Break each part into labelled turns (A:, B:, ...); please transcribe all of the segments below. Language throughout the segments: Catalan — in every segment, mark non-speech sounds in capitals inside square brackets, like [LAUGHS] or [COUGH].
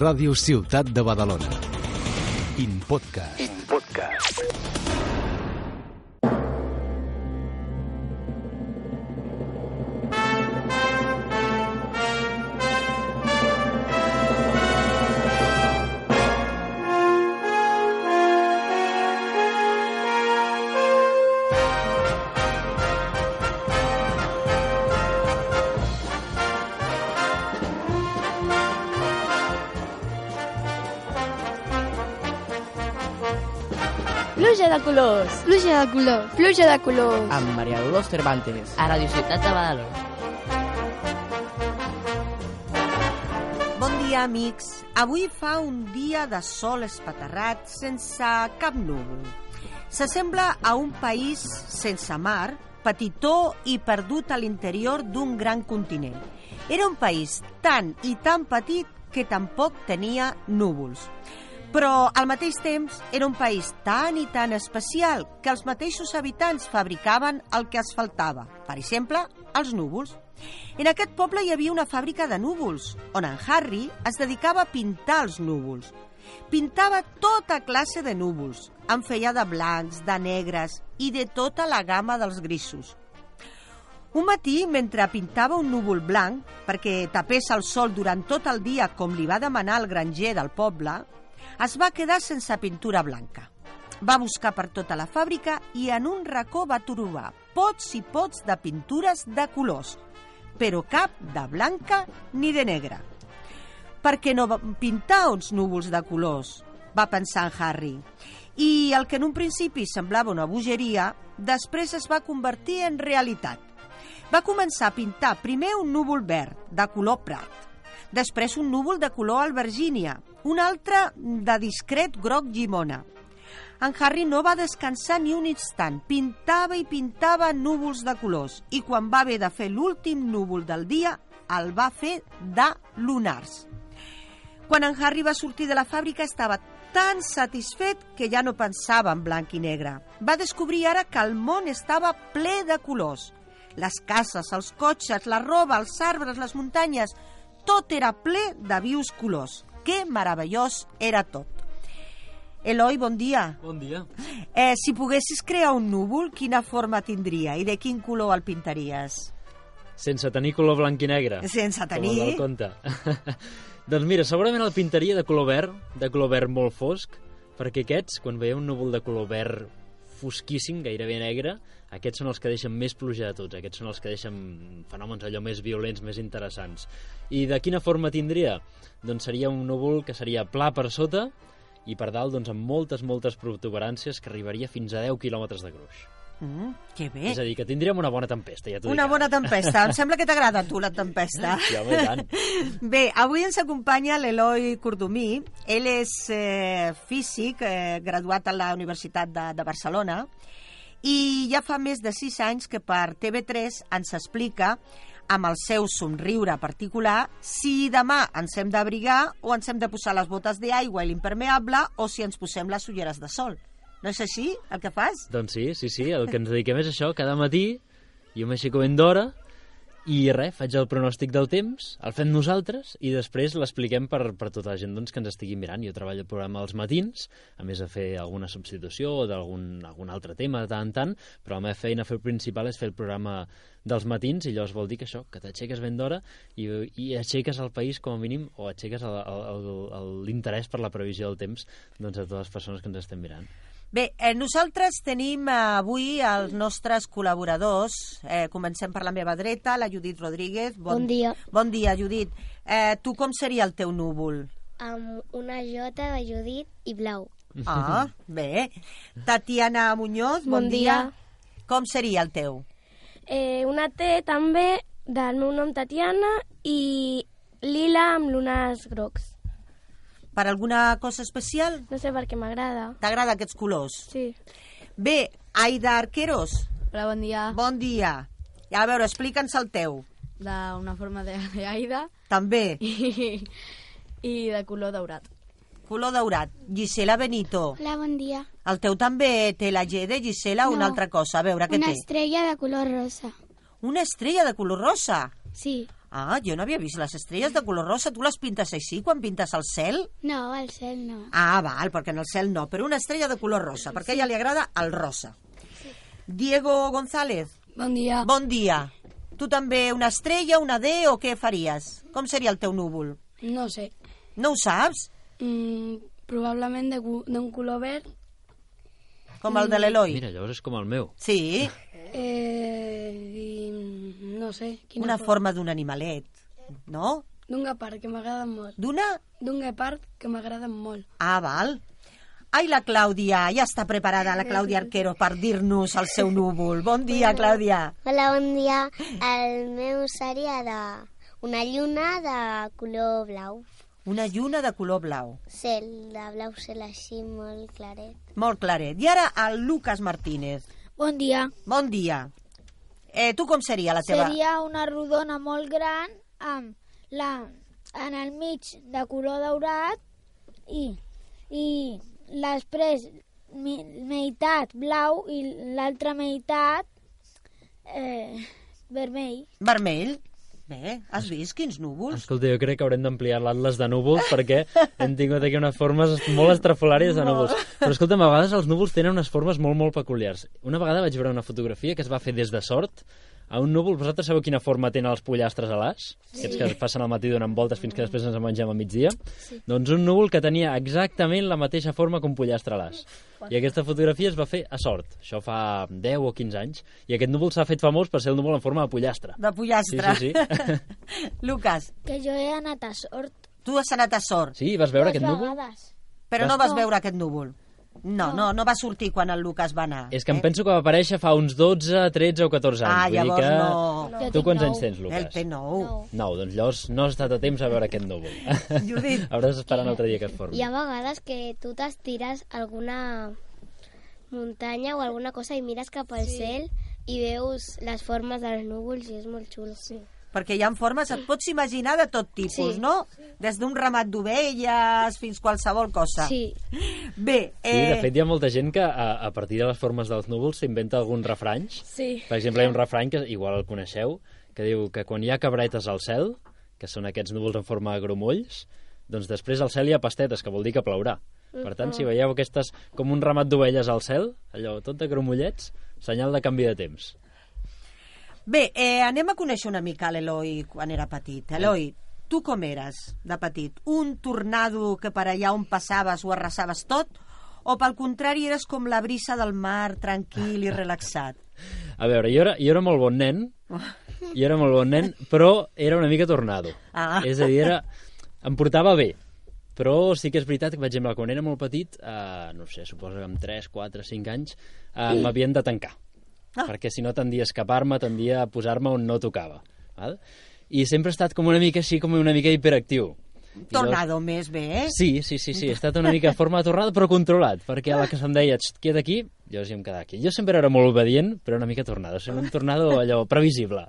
A: Ràdio Ciutat de Badalona. In Podcast.
B: In Podcast.
C: Pluja de colors.
D: Pluja de colors.
C: Pluja de colors.
E: amb Maria Dolors Cervantes.
F: a Radio Ciutat de Badalona.
G: Bon dia, amics. Avui fa un dia de sol espaterrat sense cap núvol. S'assembla a un país sense mar, petitó i perdut a l'interior d'un gran continent. Era un país tan i tan petit que tampoc tenia núvols. Però al mateix temps era un país tan i tan especial que els mateixos habitants fabricaven el que es faltava, per exemple, els núvols. En aquest poble hi havia una fàbrica de núvols, on en Harry es dedicava a pintar els núvols. Pintava tota classe de núvols, en feia de blancs, de negres i de tota la gamma dels grisos. Un matí, mentre pintava un núvol blanc, perquè tapés el sol durant tot el dia com li va demanar el granger del poble, es va quedar sense pintura blanca. Va buscar per tota la fàbrica i en un racó va trobar pots i pots de pintures de colors, però cap de blanca ni de negra. Per què no va pintar uns núvols de colors? va pensar en Harry. I el que en un principi semblava una bogeria, després es va convertir en realitat. Va començar a pintar primer un núvol verd, de color prat, després un núvol de color albergínia, un altre de discret groc llimona. En Harry no va descansar ni un instant. Pintava i pintava núvols de colors i quan va haver de fer l'últim núvol del dia, el va fer de lunars. Quan en Harry va sortir de la fàbrica estava tan satisfet que ja no pensava en blanc i negre. Va descobrir ara que el món estava ple de colors. Les cases, els cotxes, la roba, els arbres, les muntanyes... Tot era ple de vius colors. Que meravellós era tot. Eloi, bon dia.
H: Bon dia.
G: Eh, si poguessis crear un núvol, quina forma tindria i de quin color el pintaries?
H: Sense tenir color blanc i negre.
G: Sense
H: Com el del
G: tenir...
H: conte. [LAUGHS] doncs mira, segurament el pintaria de color verd, de color verd molt fosc, perquè aquests, quan veieu un núvol de color verd fosquíssim, gairebé negre, aquests són els que deixen més pluja de tots, aquests són els que deixen fenòmens allò més violents, més interessants. I de quina forma tindria? Doncs seria un núvol que seria pla per sota i per dalt doncs, amb moltes, moltes protuberàncies que arribaria fins a 10 quilòmetres de gruix.
G: Mm, que
H: Eh?
G: bé.
H: És a dir, que tindríem una bona tempesta, ja t'ho dic
G: Una
H: ara.
G: bona
H: [LAUGHS]
G: tempesta. Em sembla que t'agrada a tu la tempesta.
H: Sí, home, i tant.
G: [LAUGHS] Bé, avui ens acompanya l'Eloi Cordomí. Ell és eh, físic, eh, graduat a la Universitat de, de Barcelona, i ja fa més de sis anys que per TV3 ens explica amb el seu somriure particular, si demà ens hem d'abrigar o ens hem de posar les botes d'aigua i l'impermeable o si ens posem les ulleres de sol. No és així el que fas?
H: Doncs sí, sí, sí, el que ens dediquem és això, cada matí jo m'aixeco ben d'hora i res, faig el pronòstic del temps, el fem nosaltres i després l'expliquem per, per tota la gent doncs, que ens estigui mirant. Jo treballo el programa als matins, a més de fer alguna substitució o d'algun algun altre tema de tant en tant, però la meva feina fer principal és fer el programa dels matins i llavors vol dir que això, que t'aixeques ben d'hora i, i aixeques el país com a mínim o aixeques el- el- el- l'interès per la previsió del temps doncs, a totes les persones que ens estem mirant.
G: Bé, eh, nosaltres tenim eh, avui els nostres col·laboradors. Eh, comencem per la meva dreta, la Judit Rodríguez.
D: Bon dia.
G: Bon dia, Judit. Eh, tu com seria el teu núvol?
D: Amb una jota de Judit i blau. [LAUGHS]
G: Ah, bé. Tatiana Muñoz, bon,
I: Bon
G: dia.
I: dia.
G: Com seria el teu?
I: Eh, una T també del meu nom Tatiana i lila amb lunars grocs.
G: Per alguna cosa especial?
I: No sé per què m'agrada.
G: T'agrada aquests colors?
I: Sí.
G: Bé, Aida Arqueros,
J: Hola, bon dia.
G: bon dia. A veure, explica'ns el teu.
J: D'una forma de, de aida
G: També,
J: i, i de color daurat.
G: color daurat. Gisela Benito.
D: Hola, bon dia.
G: El teu també té la G de Gisela o una
D: No.
G: altra cosa? A veure, què
D: una
G: té?
D: estrella de color rosa.
G: Una estrella de color rosa.
D: Sí.
G: Ah, jo no havia vist les estrelles de color rosa. Tu les pintes així quan pintes el cel?
D: No, al cel no.
G: Ah, val, perquè en el cel no, però una estrella de color rosa, perquè a ella li agrada el rosa. Diego González,
I: Bon dia.
G: bon dia. Tu també una estrella, una D o què faries? Com seria el teu núvol?
I: No sé.
G: No ho saps?
I: Mm, probablement de gu- d'un color verd. Mm.
G: Com el de l'Eloi?
H: Mira, llavors és com el meu.
G: Sí,
I: Eh, i, mm, no sé. Quina
G: una
I: for-
G: forma d'un animalet, no?
I: D'un guepard, que m'agrada molt.
G: D'una?
I: D'un guepard, que m'agrada molt.
G: Ah, val. Ai, la Clàudia, ja està preparada la Clàudia Arquero per dir-nos el seu núvol. Bon dia, Clàudia.
D: Hola, bon dia. El meu seria de una lluna de color blau.
G: Una lluna de color blau.
D: Cel de blau cel així molt claret.
G: Molt claret. I ara el Lucas Martínez.
I: Bon dia.
G: Bon dia. Eh, tu com seria la teva...
B: Seria una rodona molt gran amb la, en el mig de color daurat i, i després mi, meitat blau i l'altra meitat eh, vermell.
G: Vermell? Bé, has vist quins núvols?
H: Escolta, jo crec que haurem d'ampliar l'atles de núvols perquè hem tingut aquí unes formes molt estrafolàries de núvols. Però escolta'm, a vegades els núvols tenen unes formes molt, molt peculiars. Una vegada vaig veure una fotografia que es va fer des de sort a un núvol. Vosaltres sabeu quina forma tenen els pollastres a l'as? Sí. Aquests que es passen al matí donant voltes fins que després ens en mengem a migdia. Sí. Doncs un núvol que tenia exactament la mateixa forma que un pollastre a l'as. I aquesta fotografia es va fer a sort. Això fa 10 o 15 anys. I aquest núvol s'ha fet famós per ser el núvol en forma de pollastre.
G: De pollastre.
H: Sí, sí,
G: [LAUGHS] sí. Lucas,
B: Que jo he anat a sort
G: tu has anat a sort,
H: Sí, vas veure
B: dues
H: aquest núvol?
B: vegades.
G: però
H: Vas-
G: no vas veure aquest núvol. No, no, no va sortir quan el Lucas va anar.
H: És que em penso que va aparèixer fa uns 12, 13 o 14 anys.
G: Ah,
H: Vull dir
G: llavors
H: que...
G: no.
B: Jo
H: Tu
B: tinc
H: quants
B: nou.
H: anys tens, Lucas?
G: El té nou.
H: No, doncs llavors no has estat a temps a veure aquest núvol.
G: [LAUGHS] Judit.
H: [LAUGHS] Hauràs d'esperar un altre dia que es formi.
D: Hi ha vegades que tu t'estires a alguna muntanya o alguna cosa i mires cap al sí. cel i veus les formes dels núvols i és molt xulo. Sí.
G: Perquè hi ha formes, et pots imaginar de tot tipus,
D: Sí.
G: no? Des d'un ramat d'ovelles fins qualsevol cosa.
D: Sí.
G: Bé, eh,
H: Sí, de fet hi ha molta gent que a, a partir de les formes dels núvols s'inventa alguns refranys.
I: Sí.
H: Per exemple, hi ha un refrany que igual el coneixeu, que diu que quan hi ha cabretes al cel, que són aquests núvols en forma de grumolls, doncs després al cel hi ha pastetes, que vol dir que plourà. Per tant, si veieu aquestes com un ramat d'ovelles al cel, allò tot de grumollets, senyal de canvi de temps.
G: bé eh, anem a conèixer una mica l'Eloi quan era petit. Eloi, tu com eres de petit? Un tornado que per allà on passaves ho arrasaves tot? O pel contrari eres com la brisa del mar, tranquil
H: [LAUGHS]
G: i relaxat?
H: A veure, jo era, jo era molt bon nen, jo era molt bon nen, però era una mica tornado.
G: Ah.
H: És a dir, era, em portava bé. Però sí que és veritat que, per exemple, quan era molt petit, eh, no ho sé, suposo que amb 3, 4, 5 anys, eh, m'havien de tancar.
G: Ah.
H: Perquè si no tendia a escapar-me, tendia a posar-me on no tocava. Val? I sempre he estat com una mica així, com una mica hiperactiu. I llavors-
G: Tornado més bé, eh?
H: Sí, sí, sí, sí, he estat una mica en forma torrada, però controlat, perquè a la que se'm deia, "Xt, queda aquí, jo sí em quedava aquí. Jo sempre era molt obedient, però una mica tornada, o sigui, un tornado allò previsible.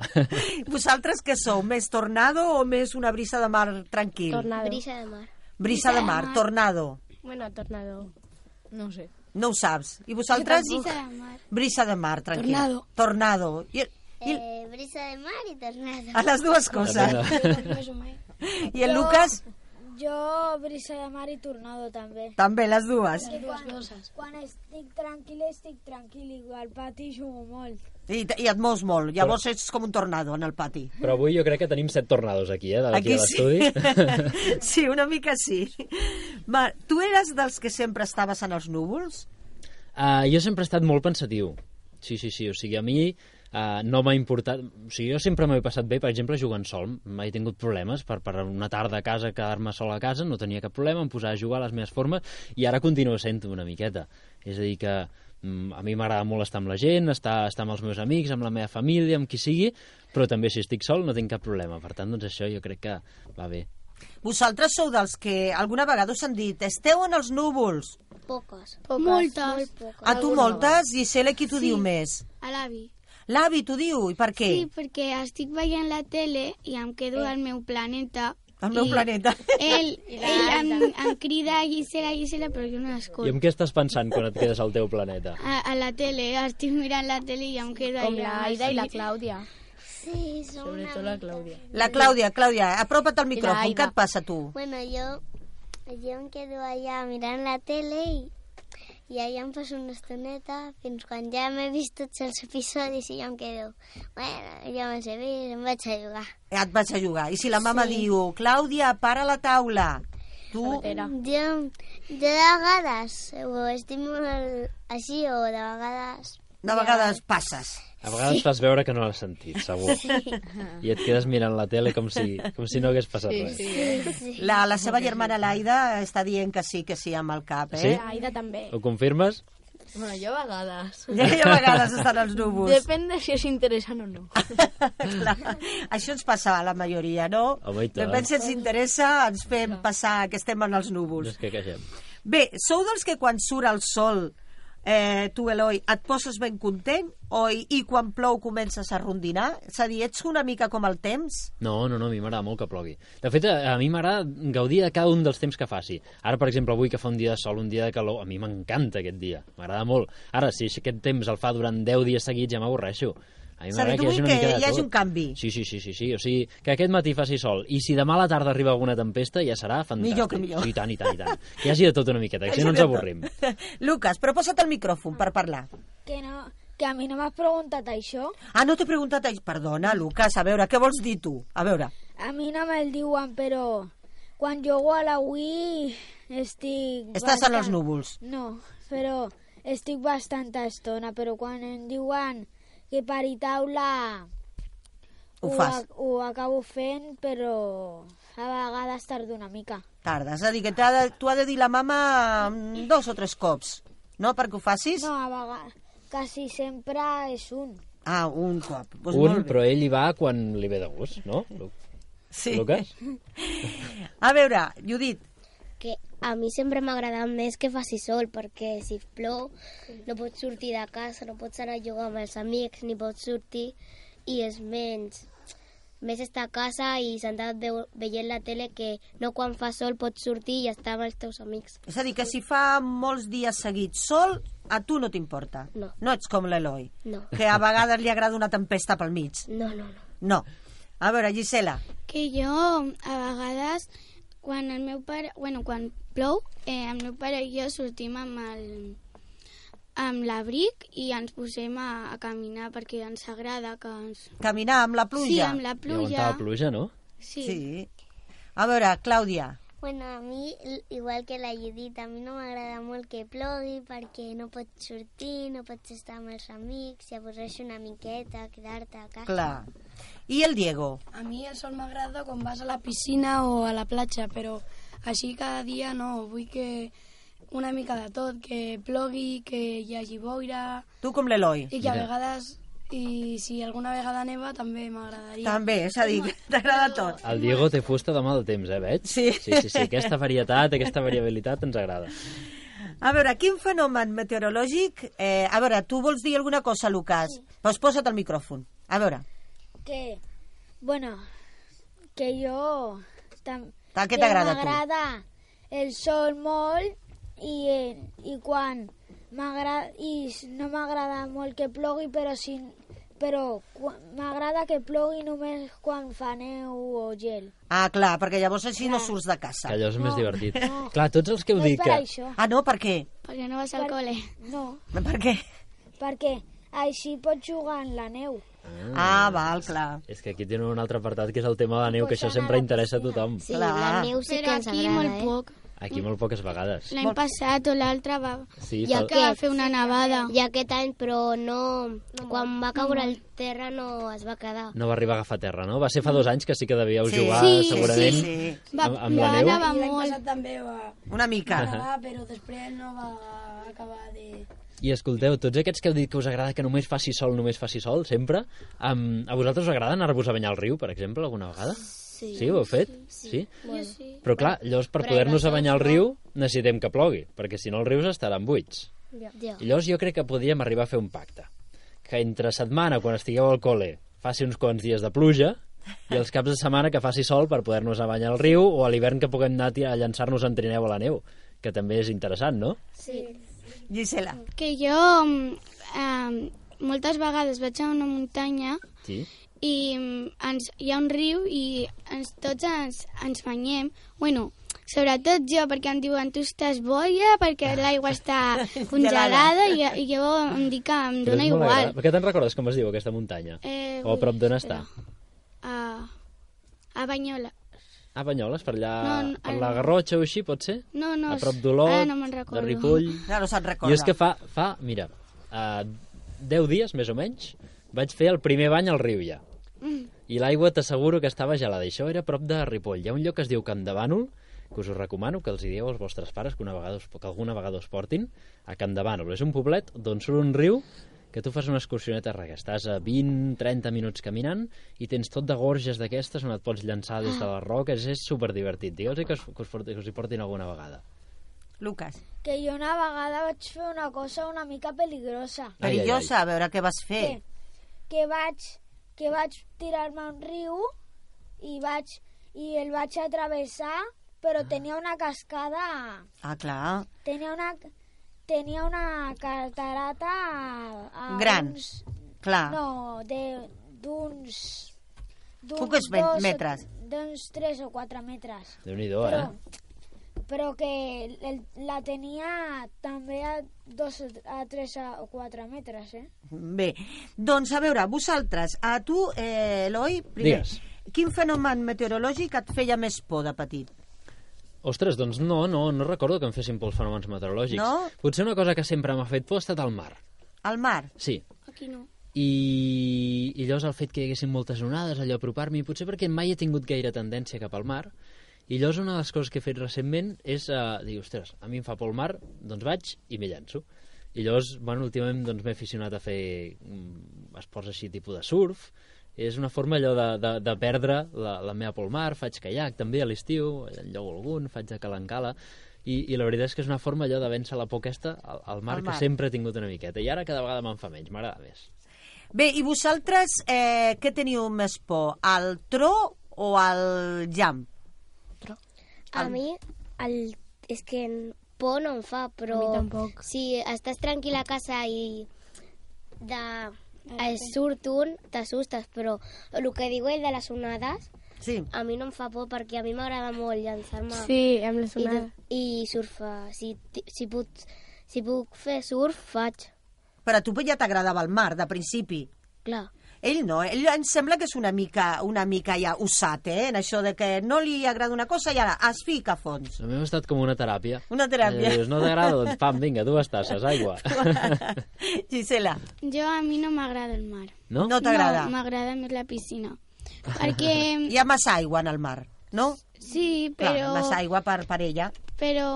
G: Vosaltres què sou? Més tornado o més una brisa de mar tranquil?
I: Tornado.
D: Brisa de mar.
G: Brisa de mar, tornado.
I: Bueno, tornado.
J: No ho sé.
G: No ho saps. I vosaltres?
D: de mar.
G: Brisa de mar, tranquil.
I: Tornado.
G: Tornado. I, i
D: Eh, brisa de mar i tornado.
G: a les dues coses. [LAUGHS] I el Lucas,
B: Jo, brisa de mar i tornado també.
G: també les dues.
B: Quan, quan estic tranquil, estic tranquil. I al pati jugo molt.
G: I, i et mous molt. Llavors ets com un tornado en el pati.
H: Però avui jo crec que tenim set tornados aquí, eh, de
G: Aquí
H: l'equip de
G: sí. [LAUGHS]
H: l'estudi.
G: sí, una mica sí. Va, tu eres dels que sempre estaves en els núvols?
H: Uh, jo sempre he estat molt pensatiu. Sí, sí, sí, o sigui, a mi uh, no m'ha importat... O sigui, jo sempre m'ho he passat bé, per exemple, jugant sol. Mai he tingut problemes per, per una tarda a casa, quedar-me sol a casa, no tenia cap problema, em posava a jugar a les meves formes i ara continuo sent una miqueta. És a dir, que mm, a mi m'agrada molt estar amb la gent, estar, estar amb els meus amics, amb la meva família, amb qui sigui, però també si estic sol no tinc cap problema. Per tant, doncs això jo crec que va bé.
G: Vosaltres sou dels que alguna vegada us han dit esteu en els núvols.
D: Poques.
C: Poques. Moltes.
D: Molt poques.
G: A tu moltes, Gisela, qui t'ho diu més?
E: A l'avi.
G: L'avi t'ho diu, i per què?
E: Sí, perquè estic veient la tele i em quedo al meu planeta.
G: El meu
E: i
G: planeta.
D: [LAUGHS]
E: Ell, ell em, em crida Gisela, Gisela, però jo
H: I
E: no
H: en
E: l'escolto.
H: què estàs pensant quan et quedes al teu planeta?
E: A, a la tele, estic mirant la tele i em quedo
J: Com
E: allà.
J: la Aida i la Clàudia.
D: Sí, son
J: Sobre
D: una
J: todo la
D: mica.
J: Claudia.
G: La Clàudia, Clàudia, apropa't al
J: la
G: micròfon.
J: Aida.
G: Què et passa, tu?
D: Bueno, yo, yo em quedo allà mirant la tele i, i allà em passo una estoneta fins quan ja m'he vist tots els episodis i ja em quedo. Bueno, ja me'ls he vist, em vaig a jugar.
G: Et vas a jugar. I si la mama diu, Clàudia, para la taula, tu...
D: Jo, jo de vegades ho estic molt així o de vegades...
G: De vegades passes.
H: A vegades fas veure que no l'has sentit, segur. I et quedes mirant la tele com si, com si no hagués passat res.
G: La, la seva germana, l'Aida, està dient que sí, que sí, amb el cap, eh?
H: Sí?
I: Aida també.
H: Ho confirmes?
J: Bueno, jo a vegades.
G: Ja hi ha vegades [LAUGHS] estan els núvols.
J: Depèn de si és interessant o no.
G: [LAUGHS] Clar, això ens passa a la majoria, no?
H: Home, Oh, i tant.
G: Depèn si ens interessa, ens fem passar que estem en els núvols.
H: No és que queixem.
G: Bé, sou dels que quan surt el sol, eh, tu, Eloi, et poses ben content o, i, i quan plou comences a rondinar? És a dir, ets una mica com el temps?
H: No, no, no, a mi m'agrada molt que plogui. De fet, a, a mi m'agrada gaudir de cada un dels temps que faci. Ara, per exemple, avui que fa un dia de sol, un dia de calor, a mi m'encanta aquest dia, m'agrada molt. Ara, si aquest temps el fa durant 10 dies seguits, ja m'avorreixo. A mi
G: És a dir,
H: m'agrada
G: tu
H: que hi hagi
G: vull
H: una
G: que
H: mica de
G: hi hagi
H: tot.
G: un canvi.
H: Sí, sí, sí, sí, sí. O sigui, que aquest matí faci sol i si demà a la tarda arriba alguna tempesta ja serà fantàstic.
G: Millor que millor.
H: Sí, I tant, i tant, i tant. Que hi hagi de tot una miqueta, que si no ens avorrim.
G: [LAUGHS] Lucas, però posa't el micròfon per parlar.
B: Que, no, que a mi no m'has preguntat això.
G: Ah, no t'he preguntat... ai, Perdona, Lucas, a veure, què vols dir tu? A veure.
B: A mi no me'l diuen, però quan jugo a la Wii estic...
G: Estàs en els
B: bastant-
G: núvols.
B: No, però estic bastanta estona, però quan em diuen que per i taula
G: Ho
B: ho,
G: fas.
B: ac- ho acabo fent, però a vegades tardo una mica.
G: Tarda, és a dir, que t'ha de- t'ho ha de dir la mama mm, dos o tres cops, no? Perquè ho facis?
B: No, a vegades quasi sempre és un.
G: Ah, un cop. Doncs
H: Un,
G: molt bé.
H: però ell hi va quan li ve de gust, no? Lu-
G: Sí.
H: Lucas?
G: [LAUGHS] A veure, Judit,
D: Que a mi sempre m'ha agradat més que faci sol, perquè si plou no pots sortir de casa, no pots anar a jugar amb els amics, ni pots sortir, i és menys. Més estar a casa i sentat veu, veient la tele que no quan fa sol pots sortir i estar amb els teus amics.
G: és a dir, que si fa molts dies seguits sol, a tu no t'importa.
D: No.
G: No ets com l'Eloi,
D: No,
G: que a vegades li agrada una tempesta pel mig.
D: no, no. no.
G: No. A veure, Gisela,
E: Que jo, a vegades, quan el meu pare... Bueno, quan plou, eh, el meu pare i jo sortim amb el amb l'abric i ens posem a, a caminar perquè ens agrada que ens...
G: caminar amb la pluja.
E: Sí, amb
H: I
E: la
H: aguantar
E: pluja.
H: la pluja, no?
E: Sí.
G: Sí. A veure, Clàudia,
D: Bueno, a mi, igual que la Judit, a mi no m'agrada molt que plogui perquè no pots sortir, no pots estar amb els amics, i avorreix una miqueta, quedar-te a casa.
G: clar. I el Diego?
F: A mi el sol m'agrada quan vas a la piscina o a la platja, però així cada dia no. Vull que una mica de tot, que plogui, que hi hagi boira
G: Tu com l'Eloi?
F: i que a
H: Ja.
F: vegades, i si alguna vegada neva també m'agradaria.
G: També, és a dir, que t'agrada tot.
H: El Diego té fusta de mal temps, eh, veig?
G: Sí.
H: Sí, sí, sí. Aquesta varietat, aquesta variabilitat ens agrada.
G: A veure, quin fenomen meteorològic... Eh, a veure, tu vols dir alguna cosa, Lucas? Sí. Doncs posa't el micròfon. A veure,
B: que, bueno, que jo... Tam,
G: Ta- què
B: que
G: t'agrada a tu?
B: M'agrada el sol molt i, eh, i quan m'agrada... I s- no m'agrada molt que plogui, però si però quan- m'agrada que plogui només quan fa neu o gel.
G: ah, clar, perquè llavors així no surts de casa.
H: Que allò és més
B: No,
H: divertit.
B: no.
H: Clar, tots els que heu
B: No és
H: dit
B: per
H: que...
B: això.
G: Ah, no, per què?
E: Perquè no vas al col·le.
B: No,
G: Per què?
B: perquè així pots jugar en la neu.
G: Ah, val, clar.
H: És que aquí tenen un altre apartat que és el tema de la neu, que això
B: Posant a
H: sempre
B: la
H: interessa a tothom.
D: Sí,
G: Clar.
D: la neu sí que
E: Però
D: ens
E: aquí
D: agrada,
E: molt
D: eh?
E: poc.
H: Aquí molt poques vegades.
E: L'any passat o l'altre va,
H: Sí,
D: Ja
H: fa...
E: que va fer una nevada.
D: I aquest any, però no... Quan va caure el terra no es va quedar.
H: No va arribar a agafar terra, no? Va ser fa dos anys que sí que devíeu
G: Sí.
H: jugar,
E: Sí,
H: segurament,
G: sí, sí.
E: Va,
H: Amb, amb la
E: va
H: neu.
E: nevar
F: I l'any
E: molt.
F: passat també va
G: Una mica.
F: nevar, però després no va acabar de...
H: I escolteu, tots aquests que heu dit que us agrada que només faci sol, només faci sol, sempre, um, a vosaltres us agrada anar-vos a banyar al riu, per exemple, alguna vegada? Sí. Sí, ho heu fet? Sí. sí? sí. Però clar, llavors per poder-nos a banyar al riu necessitem que plogui, perquè si no els rius estaran buits.
D: Ja.
H: I Llavors jo crec que podríem arribar a fer un pacte. Que entre setmana, quan estigueu al col·le, faci uns quants dies de pluja i els caps de setmana que faci sol per poder-nos a banyar al riu o a l'hivern que puguem anar a tirar- a llançar-nos en trineu a la neu, que també és interessant, no?
G: Gisela.
E: Que jo mm, eh, moltes vegades vaig a una muntanya
H: Sí.
E: i mm, ens, hi ha un riu i ens, tots ens, ens banyem. Bueno, sobretot jo, perquè em diuen tu estàs boia, perquè
G: Ah.
E: l'aigua
G: [LAUGHS]
E: està congelada i, i jo em dic que em
H: Però
E: dóna
H: és molt
E: igual.
H: agradable. Oh, Que te'n recordes com es diu aquesta muntanya?
E: Eh,
H: o a prop d'on està?
E: A, a Banyola.
H: A Banyoles, per allà,
E: No, no,
H: per
E: ara
H: la
E: no.
H: Garrotxa o així, pot ser?
E: No, no,
H: a prop
E: ara
H: d'Olot,
E: no me'n
H: de
E: recordo. [LAUGHS]
H: Ripoll...
G: No, no se'n recorda.
H: I és que fa, fa mira, uh, 10 dies, més o menys, vaig fer el primer bany al riu ja.
E: Mm.
H: I l'aigua t'asseguro que estava gelada. I això era a prop de Ripoll. Hi ha un lloc que es diu Camp de Bànol, que us ho recomano, que els hi dieu als vostres pares que, una vegada us, que alguna vegada us portin a Camp de Bànol. És un poblet d'on surt un riu que tu fas una excursioneta res, que estàs a 20-30 minuts caminant i tens tot de gorges d'aquestes on et pots llançar des de les roques, és superdivertit. Digue'ls que, us, que, us, porti- que us hi portin alguna vegada.
G: Lucas.
B: Que jo una vegada vaig fer una cosa una mica peligrosa.
G: Perillosa, a veure què vas fer.
B: Que, que vaig, que vaig tirar-me a un riu i, vaig, i el vaig atravessar, però tenia una cascada...
G: Ah, clar.
B: Tenia una, tenia una catarata... A, a
G: Gran.
B: uns-
G: Clar.
B: No, de- d'uns... d'uns
G: Poques me-
B: dos o-
G: metres.
B: D'uns 3 o 4 metres.
H: Déu-n'hi-do, eh?
B: Però- Però que el, la tenia també a 2 a 3 o 4 metres, eh?
G: Bé, doncs a veure, vosaltres, a tu, eh, Eloi, primer,
H: Digues.
G: quin fenomen meteorològic et feia més por de petit?
H: Ostres, doncs no, no, no recordo que em fessin por els fenòmens meteorològics.
G: No?
H: Potser una cosa que sempre m'ha fet por ha estat el mar.
G: El mar?
H: Sí.
E: Aquí no.
H: I, i llavors el fet que hi haguessin moltes onades, allò apropar-m'hi, potser perquè mai he tingut gaire tendència cap al mar, i llavors una de les coses que he fet recentment és eh, dir, ostres, a mi em fa por el mar, doncs vaig i m'hi llanço. I llavors, bueno, últimament doncs, m'he aficionat a fer mm, esports així tipus de surf, és una forma allò de, de, de perdre la, la meva pel mar, faig caiac també a l'estiu, enlloc algun, faig a Calancala, i, i la veritat és que és una forma allò de vèncer la por aquesta al, al mar,
G: Al
H: mar,
G: mar.
H: que sempre he tingut una miqueta, i ara cada vegada me'n fa menys, m'agrada més.
G: Bé, i vosaltres, eh, què teniu més por, al tro o al jam?
D: A mi, el, és que en- por no em fa, però...
C: A mi tampoc.
D: Si estàs tranquil a casa i de... Es surt un, t'assustes, però el que diu ell de les onades,
G: sí.
D: a mi no em fa por perquè a mi m'agrada molt llançar-me
C: Sí, amb les
D: i, de-
C: onades.
D: i surfar. Si, ti- si, puc, si puc fer surf, faig,
G: Però a tu ja t'agradava el mar, de principi.
D: clar.
G: Ell no, ell em sembla que és una mica, una mica ja usat, eh, en això de que no li agrada una cosa i ara es fica a fons.
H: Doncs A mi m'ha estat com una teràpia.
G: Una teràpia.
H: Eh, dius, no t'agrada? Doncs pam, vinga, dues tasses,
G: [LAUGHS]
H: aigua.
G: Gisela.
E: Jo a mi no m'agrada el mar.
H: No?
G: No t'agrada?
E: No, m'agrada més la piscina. Perquè...
G: [LAUGHS] Hi ha massa aigua en el mar, no?
E: Sí,
G: Clar,
E: però...
G: massa aigua per, per ella.
E: Però...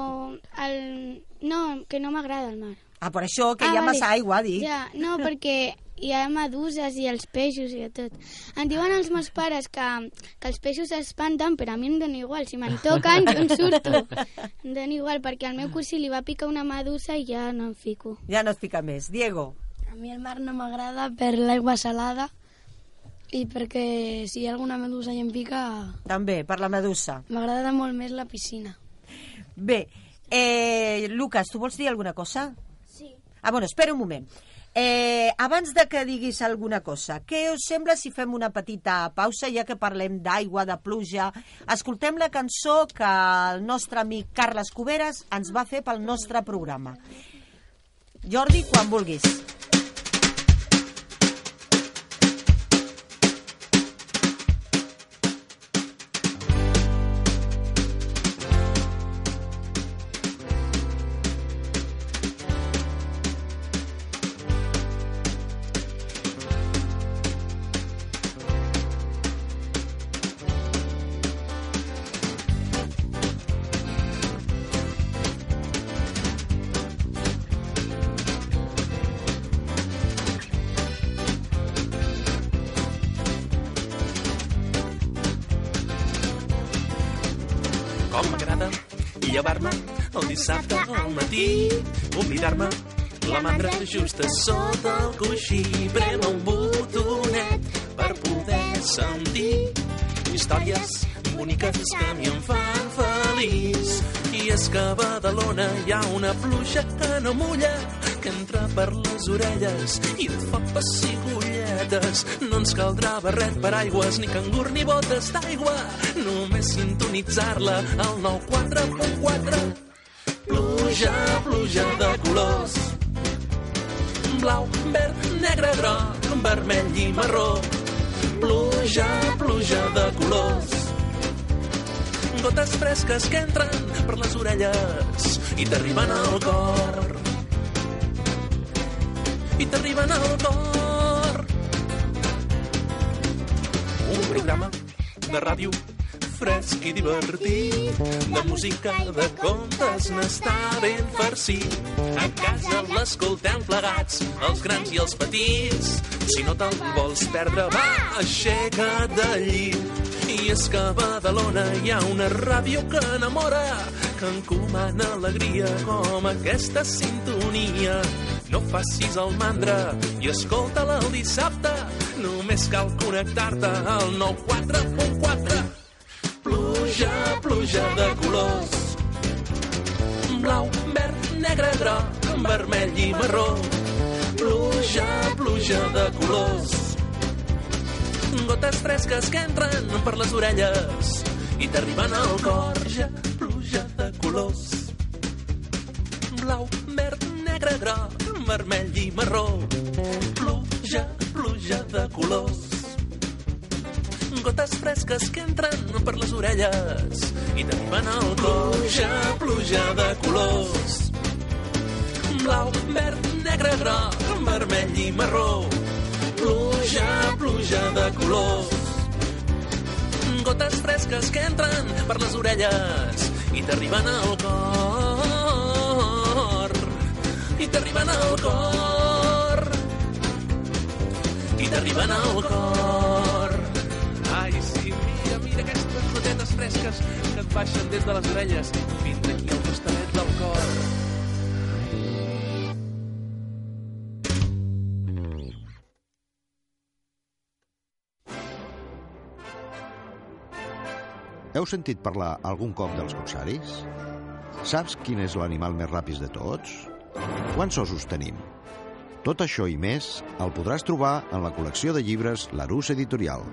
E: El... No, que no m'agrada el mar.
G: Ah, per això, que hi ha
E: vale.
G: massa aigua, dic.
E: Ja,
G: [LAUGHS]
E: no, perquè hi ha meduses i els peixos i de tot. Em diuen els meus pares que, que els peixos s'espanten, però a mi em dona igual. Si me'n toquen, jo en surto.
G: [LAUGHS]
E: Em dona igual, perquè al meu cosí li va picar una medusa i ja no em fico.
G: Ja no et fica més. Diego.
F: A mi el mar no m'agrada per l'aigua salada i perquè si hi ha alguna medusa i em pica,
G: També, per la medusa.
F: m'agrada molt més la piscina.
G: Bé, eh, Lucas, tu vols dir alguna cosa?
B: Sí.
G: Ah, bueno, espera un moment. Eh, abans de que diguis alguna cosa, què us sembla si fem una petita pausa, ja que parlem d'aigua, de pluja? Escoltem la cançó que el nostre amic Carles Cuberes ens va fer pel nostre programa. Jordi, quan vulguis.
K: Com m'agrada llevar-me el dissabte al matí, oblidar-me la mandra justa sota el coixí. Prem un botonet per poder sentir històries boniques que a mi em fan feliç. I és que a Badalona hi ha una pluja que no mulla, que entra per les orelles i et fa pessigolles. floretes. No ens caldrà barret, paraigües, ni cangur, ni botes d'aigua. Només sintonitzar-la al 94.4. Pluja, pluja de colors. Blau, verd, negre, groc, vermell i marró. Pluja, pluja de colors. Gotes fresques que entren per les orelles i t'arriben al cor i t'arriben al cor. Un programa de ràdio fresc i divertit, de música, de contes, n'està ben farcit. A casa l'escoltem plegats, els grans i els petits. Si no te'l vols perdre, va, aixeca't del llit. I és que a Badalona hi ha una ràdio que enamora, que encomana alegria com aquesta sintonia. No facis el mandra i escolta-la el dissabte. Només cal connectar-te al 94.4. Pluja, pluja de colors. Blau, verd, negre, groc, vermell i marró. Pluja, pluja de colors. Gotes fresques que entren per les orelles i t'arriben al cor. Pluja, pluja de colors. Blau, verd, negre, groc, vermell i marró. Pluja, pluja de colors. Gotes fresques que entren per les orelles i t'arriben al cor. Pluja, pluja de colors. Blau, verd, negre, groc, vermell i marró. Pluja, pluja de colors. Gotes fresques que entren per les orelles i t'arriben al cor. I t'arriben al cor. I t'arriben al cor. Ai, sí, mira, mira aquestes gotetes fresques que et baixen des de les orelles fins aquí al costadet del cor.
L: Heu sentit parlar algun cop dels corsaris? Saps quin és l'animal més ràpid de tots? Quants ossos tenim? Tot això i més el podràs trobar en la col·lecció de llibres Larús Editorial.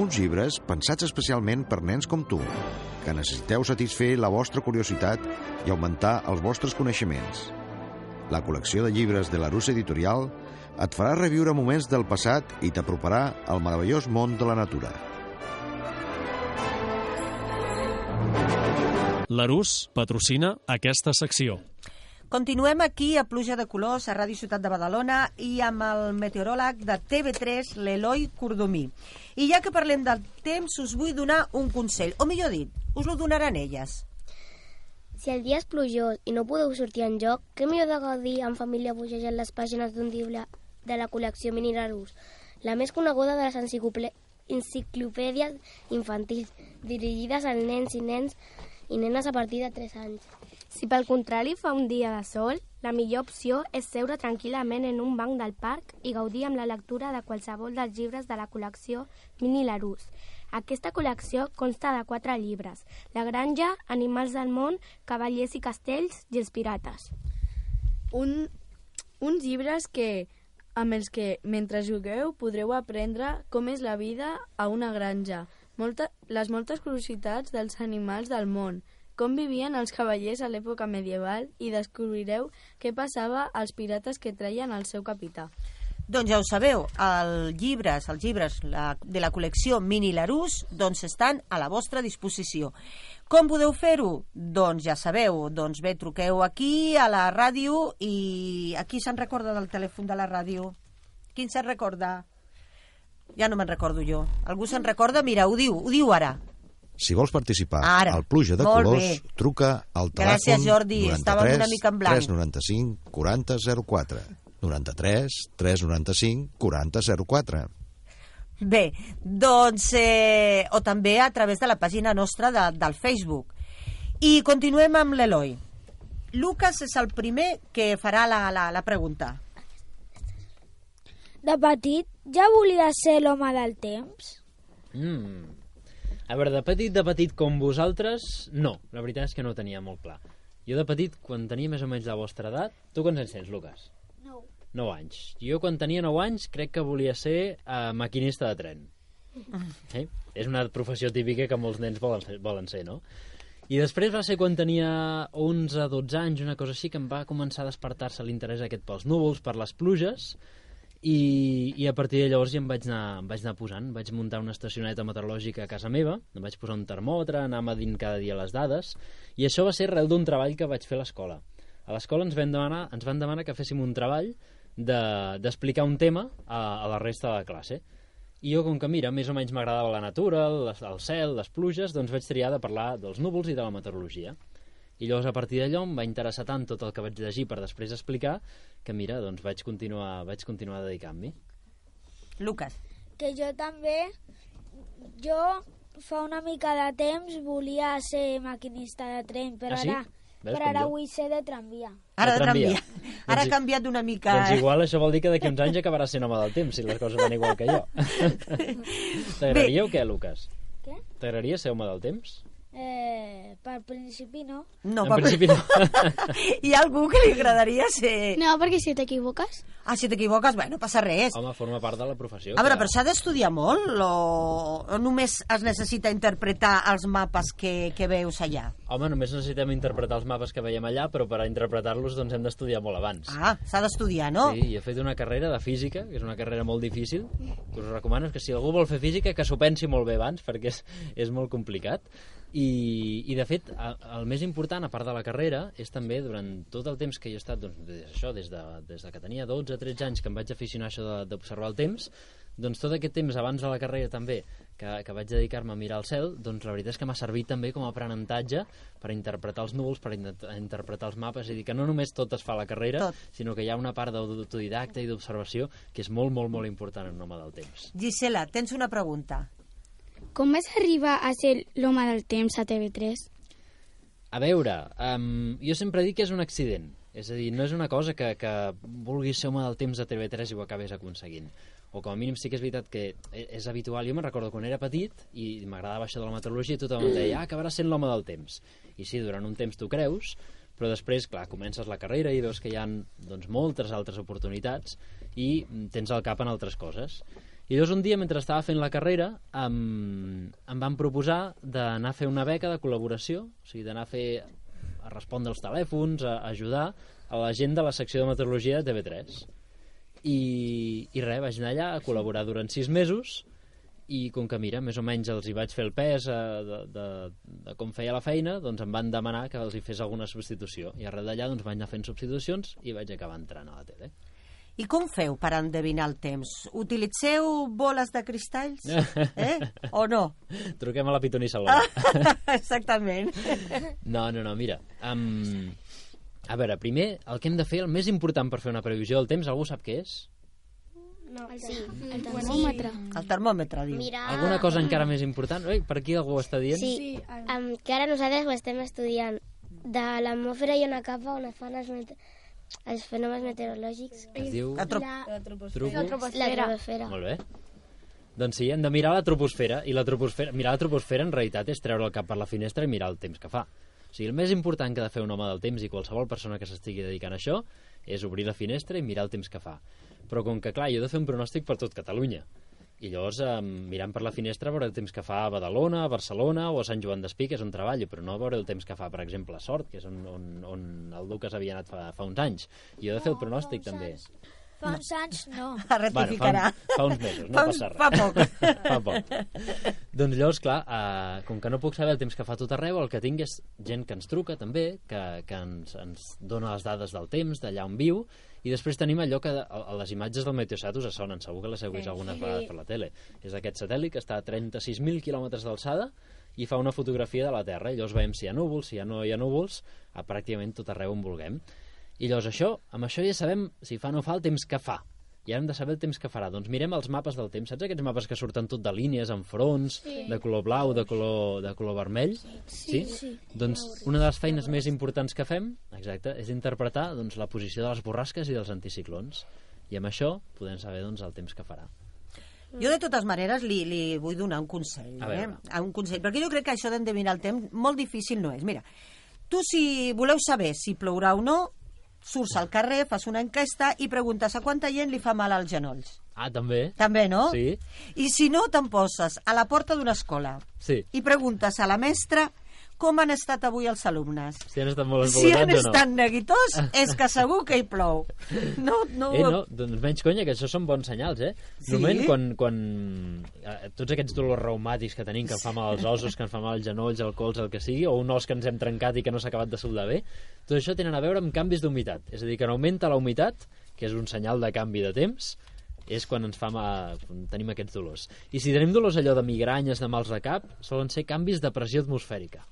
L: Uns llibres pensats especialment per nens com tu, que necessiteu satisfer la vostra curiositat i augmentar els vostres coneixements. La col·lecció de llibres de Larús Editorial et farà reviure moments del passat i t'aproparà al meravellós món de la natura.
M: L'Arús patrocina aquesta secció.
G: Continuem aquí a Pluja de Colors, a Ràdio Ciutat de Badalona, i amb el meteoròleg de TV3, l'Eloi Cordomí. I ja que parlem del temps, us vull donar un consell, o millor dit, us lo donaran elles.
D: Si el dia és plujós i no podeu sortir en joc, què millor de gaudir en família bugejant les pàgines d'un llibre de la col·lecció Mineralús, la més coneguda de les enciclople- enciclopèdies infantils, dirigides als nens i nens i nenes a partir de 3 anys.
I: Si pel contrari fa un dia de sol, la millor opció és seure tranquil·lament en un banc del parc i gaudir amb la lectura de qualsevol dels llibres de la col·lecció Mini Larús. Aquesta col·lecció consta de quatre llibres, La granja, Animals del món, Cavallers i castells i els pirates.
J: Un, uns llibres que, amb els que, mentre jugueu, podreu aprendre com és la vida a una granja, molta, les moltes curiositats dels animals del món, com vivien els cavallers a l'època medieval i descobrireu què passava als pirates que traien el seu capità.
G: Doncs ja ho sabeu, els llibres, els llibres la, de la col·lecció Mini Larús doncs estan a la vostra disposició. Com podeu fer-ho? Doncs ja sabeu, doncs bé, truqueu aquí a la ràdio i aquí se'n recorda del telèfon de la ràdio? Quin se'n recorda? Ja no me'n recordo jo. Algú se'n recorda? Mira, ho diu, ho diu ara.
L: Si vols participar
G: Ara.
L: al Pluja de
G: Molt
L: Colors,
G: bé.
L: truca al telèfon
G: Gràcies, Jordi.
L: 93
G: Estàvem una mica en blanc.
L: 395 4004. 93 395 4004.
G: Bé, doncs, eh, o també a través de la pàgina nostra de, del Facebook. I continuem amb l'Eloi. Lucas és el primer que farà la, la, la pregunta.
B: De petit ja volia ser l'home del temps?
H: Mm. A veure, de petit, de petit com vosaltres, no. La veritat és que no ho tenia molt clar. Jo de petit, quan tenia més o menys la vostra edat... Tu quants anys tens, Lucas?
B: Nou.
H: 9 anys. Jo, quan tenia 9 anys, crec que volia ser eh, maquinista de tren. Sí? És una professió típica que molts nens volen ser, volen ser, no? I després va ser quan tenia 11, 12 anys, una cosa així, que em va començar a despertar-se l'interès aquest pels núvols, per les pluges, i, i a partir de llavors ja em vaig, anar, em vaig anar posant, vaig muntar una estacioneta meteorològica a casa meva, em vaig posar un termòmetre, anar medint cada dia les dades, i això va ser arrel d'un treball que vaig fer a l'escola. A l'escola ens, van demanar, ens van demanar que féssim un treball de- d'explicar de, un tema a, a la resta de la classe. I jo, com que, mira, més o menys m'agradava la natura, les, el cel, les pluges, doncs vaig triar de parlar dels núvols i de la meteorologia. I llavors, a partir d'allò, em va interessar tant tot el que vaig llegir per després explicar que, mira, doncs vaig continuar, vaig continuar dedicant-m'hi.
G: Lucas.
B: [LAUGHS] que jo també, jo fa una mica de temps volia ser maquinista de tren, però
G: Ah, sí?
B: ara,
H: Veus
B: però
H: com
B: ara
H: jo?
B: vull ser de tramvia.
G: Ara
H: El
G: de
H: tramvia.
G: tramvia. Ara
H: doncs i-
G: ha canviat una mica.
H: Doncs
G: eh?
H: igual això vol dir que d'aquí uns anys acabarà sent home del temps, si les coses van igual que
G: [LAUGHS]
H: jo. T'agradaria o què, Lucas?
B: Què?
H: T'agradaria ser home del temps?
B: Eh, per principi no.
G: No,
H: en
G: per-
H: principi
G: [LAUGHS]
H: no.
G: [LAUGHS] Hi ha algú que li agradaria ser...
E: No, perquè si t'equivoques...
G: Ah, si t'equivoques, bé, no passa res.
H: Home, forma part de la professió.
G: A veure,
H: clar.
G: però s'ha d'estudiar molt o... o només es necessita interpretar els mapes que, que veus allà?
H: Home, només necessitem interpretar els mapes que veiem allà, però per a interpretar-los doncs hem d'estudiar molt abans.
G: Ah, s'ha d'estudiar, no?
H: Sí, i he fet una carrera de física, que és una carrera molt difícil, que us recomano que si algú vol fer física que s'ho pensi molt bé abans, perquè és, és molt complicat. I, i de fet, a- el més important, a part de la carrera, és també durant tot el temps que jo he estat, doncs, des, això, des, de, des de que tenia 12 13 anys que em vaig aficionar a això de- d'observar el temps, doncs tot aquest temps abans de la carrera també, que, que vaig dedicar-me a mirar el cel, doncs la veritat és que m'ha servit també com a aprenentatge per interpretar els núvols, per in- interpretar els mapes, és a dir, que no només tot es fa a la carrera,
G: Tot.
H: sinó que hi ha una part d'autodidacta i d'observació que és molt, molt, molt important en home del temps.
G: Gisela, tens una pregunta.
E: Com vas arribar a ser l'home del temps a TV3?
H: A veure, um, jo sempre dic que és un accident. És a dir, no és una cosa que, que vulguis ser home del temps a TV3 i ho acabes aconseguint. O com a mínim sí que és veritat que e- és habitual. Jo me'n recordo quan era petit i m'agradava això de la meteorologia i tothom em deia, ah, acabaràs sent l'home del temps. I sí, durant un temps t'ho creus, però després, clar, comences la carrera i veus que hi ha doncs, moltes altres oportunitats i tens el cap en altres coses. I llavors un dia, mentre estava fent la carrera, em, em van proposar d'anar a fer una beca de col·laboració, o sigui, d'anar a fer a respondre als telèfons, a, a ajudar a la gent de la secció de meteorologia de TV3. I, i res, vaig anar allà a col·laborar durant sis mesos i com que mira, més o menys els hi vaig fer el pes eh, de, de, de com feia la feina, doncs em van demanar que els hi fes alguna substitució. I arrel d'allà doncs, vaig anar fent substitucions i vaig acabar entrant a la tele.
G: I com feu per endevinar el temps? Utilitzeu boles de cristalls? Eh? O no? [LAUGHS]
H: Truquem a la Pitonissa Salomó.
G: Exactament.
H: No, no, no, mira. Um, a veure, primer, el que hem de fer, el més important per fer una previsió del temps, algú sap què és?
D: No, sí, el
E: termòmetre.
G: El termòmetre, diu.
D: Mira...
H: Alguna cosa encara més important? Ui, per aquí algú ho està dient?
D: Sí, um, que ara nosaltres ho estem estudiant. De l'atmosfera hi ha una capa on es fan els, mete els fenòmens meteorològics.
H: Es diu- La
D: la
H: Truco?
D: La troposfera.
H: Molt bé. Doncs sí, hem de mirar la troposfera, i la troposfera, mirar la troposfera en realitat és treure el cap per la finestra i mirar el temps que fa. O sigui, el més important que ha de fer un home del temps i qualsevol persona que s'estigui dedicant a això és obrir la finestra i mirar el temps que fa. Però com que, clar, jo he de fer un pronòstic per tot Catalunya. I llavors, eh, mirant per la finestra, veure el temps que fa a Badalona, a Barcelona o a Sant Joan d'Espí, que és on treballo, però no veure el temps que fa, per exemple, a Sort, que és on, on, on el Lucas havia anat fa, fa uns anys. I jo he de fer el pronòstic, també.
B: Fa uns anys no.
H: Bueno, fa, un- fa uns mesos, no
B: Fa un-
H: passa res.
B: fa poc.
H: [LAUGHS] fa poc. Doncs llavors, clar, eh, com que no puc saber el temps que fa a tot arreu, el que tinc és gent que ens truca, també, que, que ens, ens dona les dades del temps, d'allà on viu, i després tenim allò que a, a les imatges del Meteosat us sonen, segur que les heu vist
N: Sí.
H: algunes
N: Sí.
H: vegades per la tele. És aquest satèl·lit que està a 36.000 quilòmetres d'alçada i fa una fotografia de la Terra. I llavors veiem si hi ha núvols, si hi ha no hi ha núvols, a pràcticament tot arreu on vulguem. I llavors això, amb això ja sabem si fa o no fa el temps que fa. I ara hem de saber el temps que farà. Doncs mirem els mapes del temps. Saps aquests mapes que surten tot de línies, en fronts,
N: Sí.
H: de color blau, de color, de color vermell?
N: Sí, sí.
H: Doncs una de les feines més importants que fem, exacte, és interpretar doncs, la posició de les borrasques i dels anticiclons. I amb això podem saber doncs, el temps que farà.
G: Jo, de totes maneres, li, li vull donar un consell.
H: A
G: Eh?
H: veure.
G: Un consell, perquè jo crec que això d'endevinar el temps molt difícil no és. Mira, tu si voleu saber si plourà o no, surts al carrer, fas una enquesta i preguntes a quanta gent li fa mal als genolls.
H: Ah, també?
G: També, no?
H: Sí.
G: I si no, te'n poses a la porta d'una escola
H: Sí.
G: i preguntes a la mestra com han estat avui els alumnes.
H: Si han estat molt
G: Si han
H: esvalotats o no?
G: estat neguitós, és que segur que hi plou. No, no,
H: Eh, no, doncs menys conya, que això són bons senyals, eh?
G: Sí?
H: Normalment, quan, quan eh, tots aquests dolors reumàtics que tenim, que ens fa mal als ossos, que ens fa mal als genolls, al cols, el que sigui, o un os que ens hem trencat i que no s'ha acabat de soldar bé, tot això tenen a veure amb canvis d'humitat. És a dir, que en augmenta la humitat, que és un senyal de canvi de temps, és quan ens fa ma... quan tenim aquests dolors. I si tenim dolors allò de migranyes, de mals de cap, solen ser canvis de pressió atmosfèrica.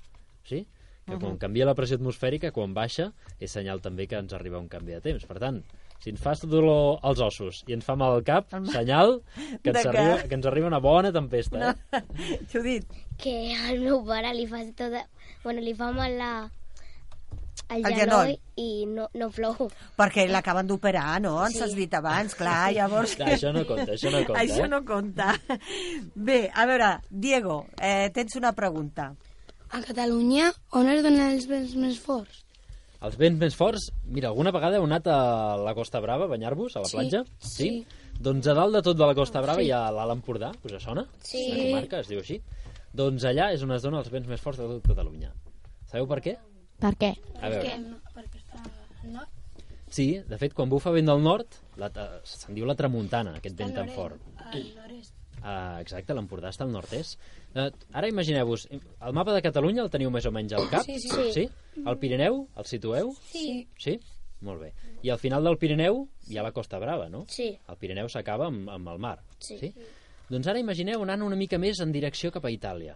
H: Sí? que quan
N: Mhm.
H: canvia la pressió atmosfèrica, quan baixa, és senyal també que ens arriba un canvi de temps. Per tant, si ens fa dolor als ossos i ens fa mal al cap, senyal que ens,
D: De que-
H: arriba, que ens arriba una bona tempesta. Eh?
G: Judit.
D: Que al meu pare li fa tota... Bueno, li fa mal la... El,
G: El
D: genoll
G: genoll.
D: i no, no plou.
G: Perquè l'acaben d'operar, no? Ens
D: Sí.
G: has dit abans,
H: [LAUGHS]
G: clar, llavors...
H: Da, això no compta, això no compta,
G: Això
H: eh?
G: no compta. Bé, a veure, Diego, eh, tens una pregunta.
F: A Catalunya, on es donen els vents més forts?
H: Els vents més forts... Mira, alguna vegada heu anat a la Costa Brava a banyar-vos, a la
F: Sí,
H: platja?
F: sí.
H: Doncs a dalt de tot de la Costa Brava hi
F: Sí.
H: ha l'Alt Empordà, us sona?
F: Sí.
H: Una comarca, es diu així. Doncs allà és on es donen els vents més forts de tot Catalunya. Sabeu per què?
O: Per què?
H: A veure.
F: Perquè està al nord.
H: Sí, de fet, quan bufa vent del nord, la, eh, se'n diu la tramuntana, aquest vent tan
F: Al
H: fort.
F: nord- Al nord-est.
H: Uh, exacte, l'Empordà està al nord-est. Uh, ara imagineu-vos, el mapa de Catalunya el teniu més o menys al cap?
F: Sí, sí. Sí.
H: El Pirineu, el situeu?
F: Sí.
H: Sí? Molt bé. I al final del Pirineu hi ha la Costa Brava, no?
D: Sí.
H: El Pirineu s'acaba amb, amb el mar.
D: Sí.
H: Doncs ara imagineu anant una mica més en direcció cap a Itàlia.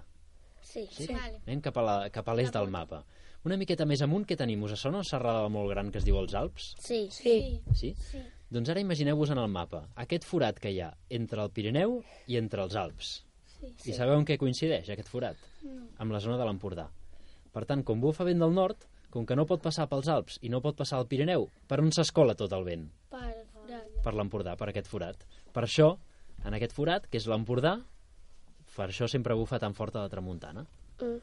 D: Sí.
H: Sí? Anem cap a la- cap a l'est del mapa. Una miqueta més amunt, què tenim? Us sona una serrada molt gran que es diu els Alps?
D: Sí.
F: Sí.
H: Sí? sí. Doncs ara imagineu-vos en el mapa aquest forat que hi ha entre el Pirineu i entre els Alps. Sí.
D: Sí.
H: I sabeu en què coincideix aquest forat?
D: No.
H: Amb la zona de l'Empordà. Per tant, com bufa vent del nord, com que no pot passar pels Alps i no pot passar al Pirineu, per on s'escola tot el vent?
E: Per forat.
H: Per l'Empordà, per aquest forat. Per això, en aquest forat, que és l'Empordà, per això sempre bufa tan forta la tramuntana.
D: Mm,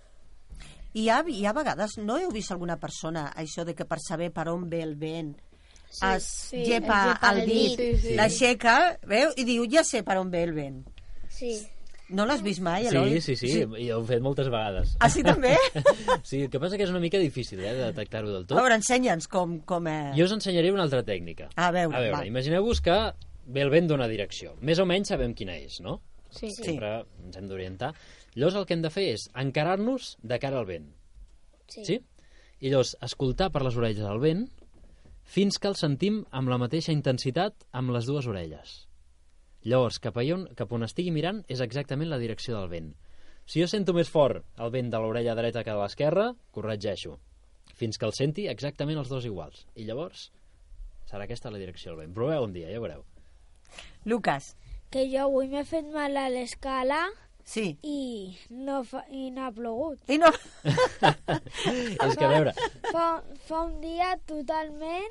G: Hi ha, hi ha vegades, no heu vist alguna persona, això de que per saber per on ve el vent
D: Sí,
G: es
D: sí,
G: llepa
D: es llepa
G: el
D: el
G: dit,
D: dit. Sí, sí.
G: l'aixeca, veu, i diu, ja sé per on ve el vent.
D: Sí.
G: No l'has vist mai, Eloi?
H: Sí, sí, sí, i ho he fet moltes vegades.
G: Ah, sí, també?
H: [LAUGHS] Sí, el que passa que és una mica difícil, eh, de detectar-ho del tot.
G: A veure, ensenya'ns com... com eh...
H: Jo us ensenyaré una altra tècnica.
G: A veure,
H: a
G: va.
H: veure imagineu-vos que ve el vent d'una direcció. Més o menys sabem quina és, no?
G: Sí. Sí.
H: Sempre ens hem d'orientar. Llavors el que hem de fer és encarar-nos de cara al vent.
D: Sí.
H: sí? I llavors escoltar per les orelles el vent fins que el sentim amb la mateixa intensitat amb les dues orelles. Llavors, cap, allà on, cap on estigui mirant és exactament la direcció del vent. Si jo sento més fort el vent de l'orella dreta que de l'esquerra, corregeixo. Fins que el senti exactament els dos iguals. I llavors serà aquesta la direcció del vent. Proveu un dia, ja veureu.
G: Lucas.
B: Que jo avui m'he fet mal a l'escala
H: [LAUGHS]
G: sí.
B: i, no fa, i no ha plogut.
G: I no...
H: És que a veure,
B: Fa, fa un dia totalment...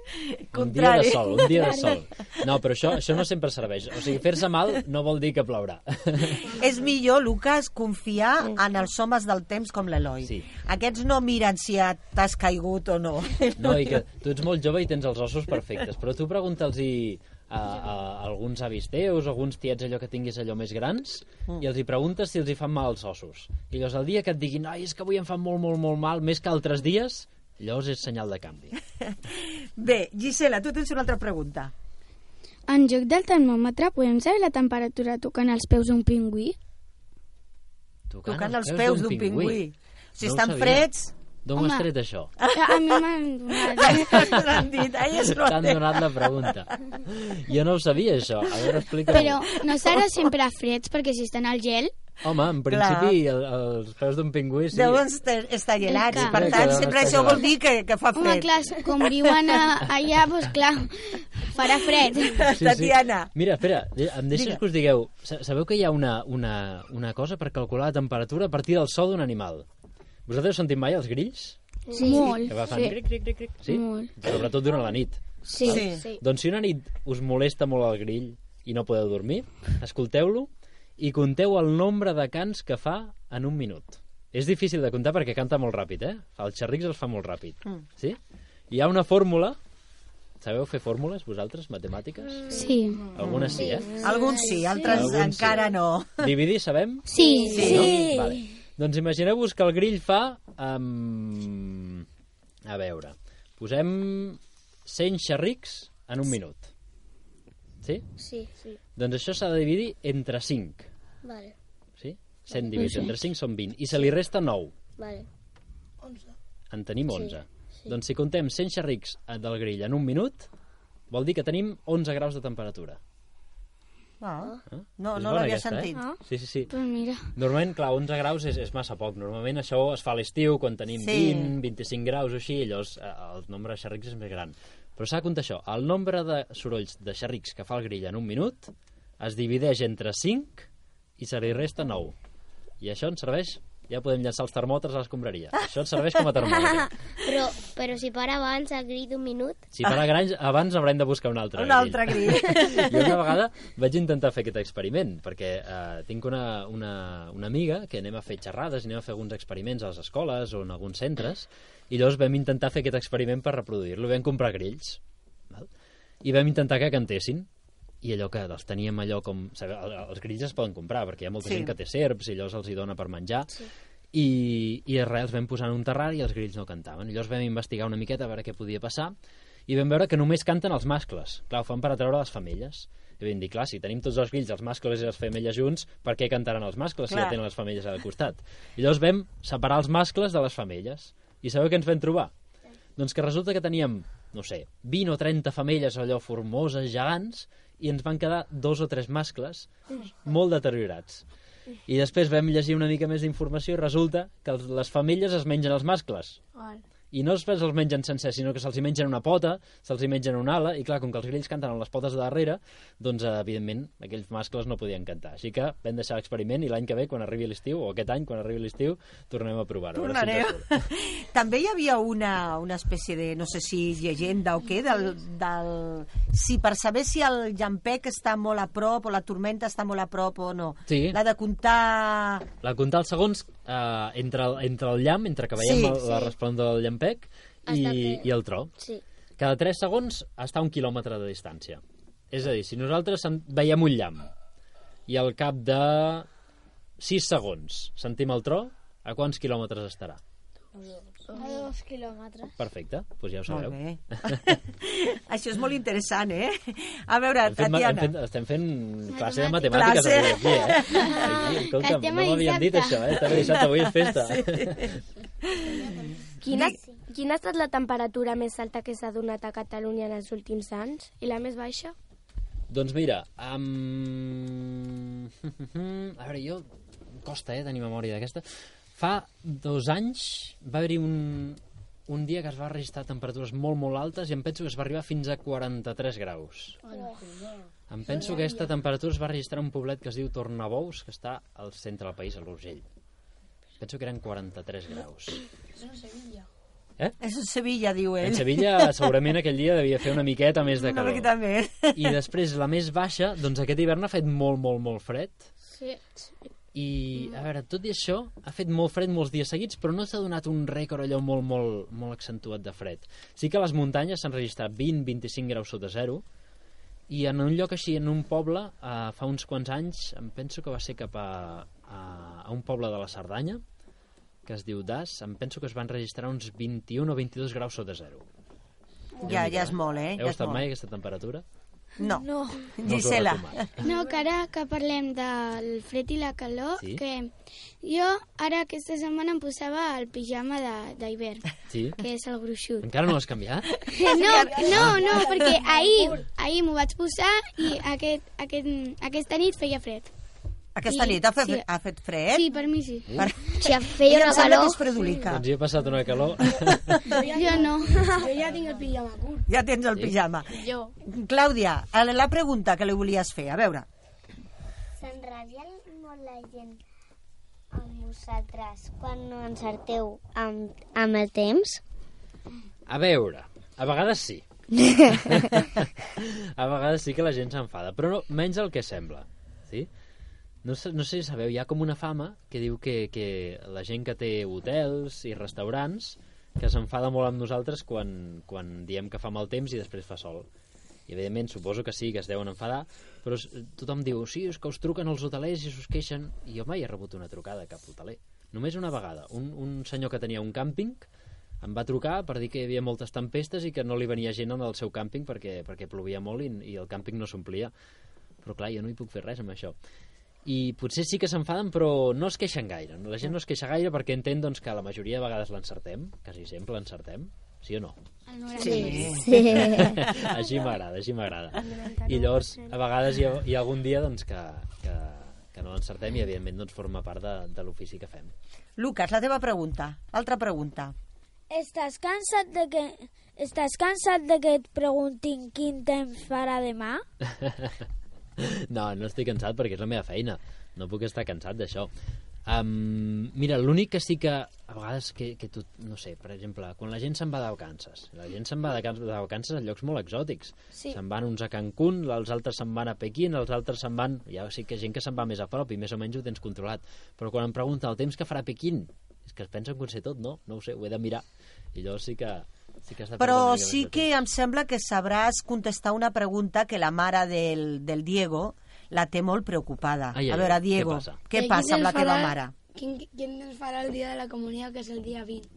H: un dia de sol, un dia de sol. No, però això, això no sempre serveix. O sigui, fer-se mal no vol dir que plourà.
G: És millor, Lucas, confiar en els homes del temps com l'Eloi. Sí. Aquests no miren si ja t'has caigut o no.
H: No, i que tu ets molt jove i tens els ossos perfectes, però tu pregunta'ls a, a, a alguns avis teus, alguns tiets allò que tinguis allò més grans,
N: Mm.
H: i els hi preguntes si els hi fan mal els ossos. I llavors el dia que et diguin, ai, és que avui em fan molt, molt, molt mal, més que altres dies, llavors és senyal de canvi.
G: [LAUGHS] Bé, Gisela, tu tens una altra pregunta.
E: En joc del termòmetre podem saber la temperatura tocant els peus d'un pingüí?
H: Tocant,
G: Tocant els peus d'un pingüí. Si estan
H: ho sabia.
G: freds-
H: D'on ho
E: Home.
H: has tret, això?
E: [LAUGHS] A mi m'han
G: donat. dit, ai, és lo
H: T'han
G: té.
H: donat la pregunta. Jo no ho sabia, això. A veure, explica
E: Però no serà sempre freds perquè si estan al gel...
H: Home, en principi, el, els peus d'un pingüí... Sí.
G: Deuen estar, estar gelats,
E: Clar.
G: per
H: Crec que
G: tant,
H: deuen
G: sempre
H: estar
G: això vol
H: gelats.
G: dir que, que fa fred.
E: Home,
G: [LAUGHS]
E: clar, com viuen a, allà, doncs clar, farà fred.
H: Mira, espera, de- em deixes
E: Digue.
H: que us digueu, sa- sabeu que hi ha una, una, una cosa per calcular la temperatura a partir del so d'un animal? Vosaltres heu sentit mai els grills?
E: Sí. Molt,
H: Que va fan
E: sí.
H: cric, cric, cric, cric, sí?
E: Molt.
H: Sobretot durant la nit.
E: Sí.
H: Val?
E: Sí. Sí.
H: Doncs si una nit us molesta molt el grill i no podeu dormir, escolteu-lo i conteu el nombre de cants que fa en un minut. És difícil de comptar perquè canta molt ràpid, eh? Els xerrics els fa molt ràpid.
G: Mm.
H: Sí? Hi ha una fórmula Sabeu fer fórmules, vosaltres, matemàtiques?
E: Sí.
H: Algunes sí, eh?
G: Alguns sí, altres
H: Alguns sí.
G: encara no. [LAUGHS]
H: Dividir, sabem?
G: Sí. Sí. Sí.
H: No? Vale. Doncs imagineu-vos que el grill fa... Um... A veure, posem 100 xerrics en un minut. Sí?
D: Sí, sí.
H: Doncs això s'ha de dividir entre 5.
D: Vale,
H: Sí? 100
D: Sí.
H: dividits entre 5 són 20. I se li resta 9.
D: vale.
H: En tenim
D: Sí,
H: 11.
D: sí.
H: Doncs si comptem 100 xerrics eh, del grill en un minut, vol dir que tenim 11 graus de temperatura.
G: Ah.
H: Eh?
G: No,
H: És
G: no
H: bona
G: l'havia
H: aquesta,
G: sentit.
H: Eh? Sí, sí, sí.
E: Ah, Pues mira.
H: Normalment, clar, 11 graus és, és massa poc. Normalment això es fa a l'estiu, quan tenim
G: Sí.
H: sí. 20, 25 graus o així, i llavors eh, el nombre de xerrics és més gran. Però s'ha de comptar això. El nombre de sorolls de xerrics que fa el grill en un minut es divideix entre 5 i se li resta 9. I això ens serveix... Ja podem llançar els termòmetres a l'escombraria. Això ens serveix com a termòmetre.
D: [LAUGHS] però, però si para abans el grill d'un minut... Ah.
H: Si para granys, abans haurem de buscar un altre
D: Un altre grill.
H: [LAUGHS] Jo una vegada vaig intentar fer aquest experiment, perquè eh, tinc una, una, una amiga que anem a fer xerrades i anem a fer alguns experiments a les escoles o en alguns centres, i llavors vam intentar fer aquest experiment per reproduir-lo. Vam comprar grills, val? i vam intentar que cantessin, i allò que els teníem allò com... Sabeu, el- els grills es poden comprar, perquè hi ha molta
N: Sí.
H: sí. gent que té serps i llavors els hi dona per menjar. Sí. I, i res, els vam posar en un terrari i els grills no cantaven. Llavors vam investigar una miqueta a veure què podia passar i vam veure que només canten els mascles. Clar, ho fan per atraure les femelles. I vam dir, clar, si tenim tots els grills, els mascles i les femelles junts, per què cantaran els mascles si
N: Clar.
H: ja tenen les femelles al costat? I llavors vam separar els mascles de les femelles. I sabeu què ens vam trobar? Doncs que resulta que teníem, no sé, 20 o 30 femelles allò formoses, gegants, i ens van quedar dos o tres mascles molt deteriorats. I després vam llegir una mica més d'informació i resulta que els- les femelles es mengen els mascles. I no es els mengen sencer, sinó que se'ls hi mengen una pota, se'ls hi mengen una ala, i clar, com que els grills canten amb les potes de darrere, doncs, eh, evidentment, aquells mascles no podien cantar. Així que vam deixar l'experiment i l'any que ve, quan arribi l'estiu, o aquest any, quan arribi l'estiu, tornem a provar-ho. a veure si ens
G: Tornareu.
H: surt.
G: [LAUGHS] També hi havia una, una espècie de, no sé si llegenda o què, del, del, si per saber si el llampec està molt a prop o la tormenta està molt a prop o no.
H: Sí.
G: L'ha de comptar...
H: La comptar els segons eh, entre, el, entre el llamp, entre que veiem
G: Sí,
H: sí, el, la
G: sí.
H: resplendor del llampec i,
G: Hasta que-
H: i el tro.
D: Sí.
H: Cada 3 segons està a un quilòmetre de distància. És a dir, si nosaltres sen- veiem un llamp i al cap de 6 segons sentim el tro, a quants quilòmetres estarà?
B: A dos quilòmetres.
H: Perfecte, doncs ja ho
G: Molt
H: sabeu.
G: bé. Això és molt interessant, eh? A veure,
H: [LAUGHS] Hem fet, ma- hem
G: Tatiana...
H: fet, estem fent classe de matemàtiques
G: Classe.
H: avui aquí, eh? Ai, escolta,
I: Que estem
H: no
I: a
H: m'havien dit
I: dissabte.
H: això, eh? També dissabte, avui és festa.
I: Quina, quina ha estat la temperatura més alta que s'ha donat a Catalunya en els últims anys? I la més baixa?
H: Doncs mira, um... [LAUGHS] a veure, jo... em Costa, eh, tenir memòria d'aquesta. Fa dos anys va haver-hi un, un dia que es va registrar temperatures molt, molt altes i em penso que es va arribar fins a 43 graus. Em penso que aquesta temperatura es va registrar a un poblet que es diu Tornabous, que està al centre del país, a l'Urgell. Penso que eren 43 graus. Eh?
G: És a Sevilla, diu ell.
H: En Sevilla
G: [LAUGHS]
H: segurament aquell dia devia fer una miqueta més de
G: Una
H: calor.
G: miqueta més.
H: I després la més baixa, doncs aquest hivern ha fet molt, molt, molt fred.
E: Sí.
H: I, a veure, tot i això, ha fet molt fred molts dies seguits, però no s'ha donat un rècord allò molt, molt, molt accentuat de fred. Sí que a les muntanyes s'han registrat 20-25 graus sota zero, i en un lloc així, en un poble, eh, fa uns quants anys, em penso que va ser cap a, a, a un poble de la Cerdanya, que es diu Das, em penso que es van registrar uns 21 o 22 graus sota zero.
G: Ja,
H: Déu-n'hi-do,
G: ja és molt, eh?
H: Heu
G: Ja és
H: estat
G: molt.
H: mai a aquesta temperatura?
G: No.
E: No.
H: No us ho
G: Gisela.
H: recomano.
E: No, que ara que parlem del fred i la calor,
H: Sí.
E: que jo ara aquesta setmana em posava el pijama de- d'hivern,
H: Sí?
E: que és el gruixut.
H: Encara no l'has canviat?
E: No, no,
G: ah.
E: no, perquè ahir, ahir m'ho vaig posar i aquest, aquest, aquesta nit feia fred.
G: Aquesta
E: I-
G: nit ha fet,
E: sí.
G: ha fet fred?
E: Sí, per mi sí.
G: Per...
E: Si
G: feia Ella em una sembla calor. que és fredolica.
H: Doncs hi he passat una calor.
E: [LAUGHS] Jo no.
F: Jo ja tinc el pijama curt.
G: Ja tens el
F: Sí.
G: pijama.
F: Jo.
G: Clàudia, a la pregunta que li volies fer, a veure.
D: S'enrabian molt la gent amb vosaltres quan no encerteu amb, amb el temps?
H: A veure, a vegades sí. a vegades sí que la gent s'enfada, però no, menys el que sembla. Sí? No, sé, no sé si sabeu, hi ha com una fama que diu que, que la gent que té hotels i restaurants que s'enfada molt amb nosaltres quan, quan diem que fa mal temps i després fa sol. I, evidentment, suposo que sí, que es deuen enfadar, però s- tothom diu, sí, és que us truquen els hotelers i us queixen. I jo mai he rebut una trucada a cap hoteler. Només una vegada. Un, un senyor que tenia un càmping em va trucar per dir que hi havia moltes tempestes i que no li venia gent al seu càmping perquè, perquè plovia molt i, i el càmping no s'omplia. Però clar, jo no hi puc fer res amb això. I potser sí que s'enfaden, però no es queixen gaire. La gent no es queixa gaire perquè entén doncs, que la majoria de vegades l'encertem, quasi sempre l'encertem, sí o no?
E: El
K: Sí.
E: Sí.
H: [LAUGHS] així m'agrada, així m'agrada. I llavors, a vegades hi ha, hi ha algun dia doncs, que, que, que no l'encertem i, evidentment, doncs, forma part de, de l'ofici que fem.
G: Lucas, la teva pregunta. Altra pregunta.
B: Estàs cansat de que... Estàs cansat de que et preguntin quin temps farà demà?
H: No, no estic cansat perquè és la meva feina. No puc estar cansat d'això. Um, mira, l'únic que sí que a vegades que, que tu, no sé, per exemple, quan la gent se'n va de vacances, la gent se'n va de, can- de vacances a llocs molt exòtics.
K: Sí.
H: Se'n van uns a Cancún, els altres se'n van a Pequín, els altres se'n van... Ja sí que gent que se'n va més a prop i més o menys ho tens controlat. Però quan em pregunten el temps que farà a Pequín, és que es pensen que ho sé tot, no? No ho sé, ho he de mirar. I llavors sí que... Sí que has de perdre
G: Però
H: una mica
G: sí
H: més de
G: que em sembla que sabràs contestar una pregunta que la mare del, del Diego la té molt preocupada.
H: Ai, ai,
G: a veure,
H: ai,
G: Diego,
H: què passa?
G: què
F: Eh,
G: passa amb la
F: quin ens
G: teva
F: farà-
G: mare?
F: Quin, quin ens farà el dia de la comunió, que és el dia 20?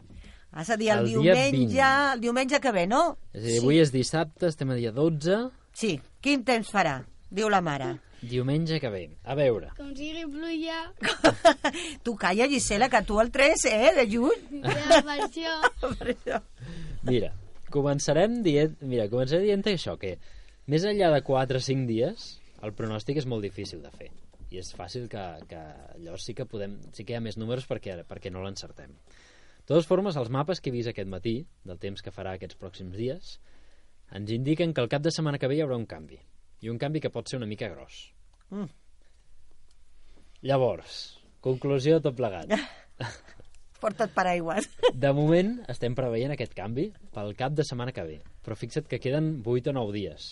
G: Has de dir el,
H: El dia
G: diumenge, el diumenge que ve, no?
H: És a dir, avui és dissabte, estem a dia 12...
G: Sí, quin temps farà? Diu la mare.
H: Diumenge que ve. A veure.
E: Com sigui pluja,
G: [LAUGHS] Tu calla, Gisela, que tu el 3, eh, de juny.
E: ja per això...
G: [LAUGHS]
H: Mira, començarem dient, mira, començarem dient això, que més enllà de 4 o 5 dies, el pronòstic és molt difícil de fer. I és fàcil que, que llavors sí que podem, sí que hi ha més números perquè, perquè no l'encertem. De totes formes, els mapes que he vist aquest matí, del temps que farà aquests pròxims dies, ens indiquen que el cap de setmana que ve hi haurà un canvi. I un canvi que pot ser una mica gros.
G: Mm.
H: Llavors, conclusió de tot plegat.
G: Porta't paraigües.
H: De moment estem preveient aquest canvi pel cap de setmana que ve, però fixa't que queden 8 o 9 dies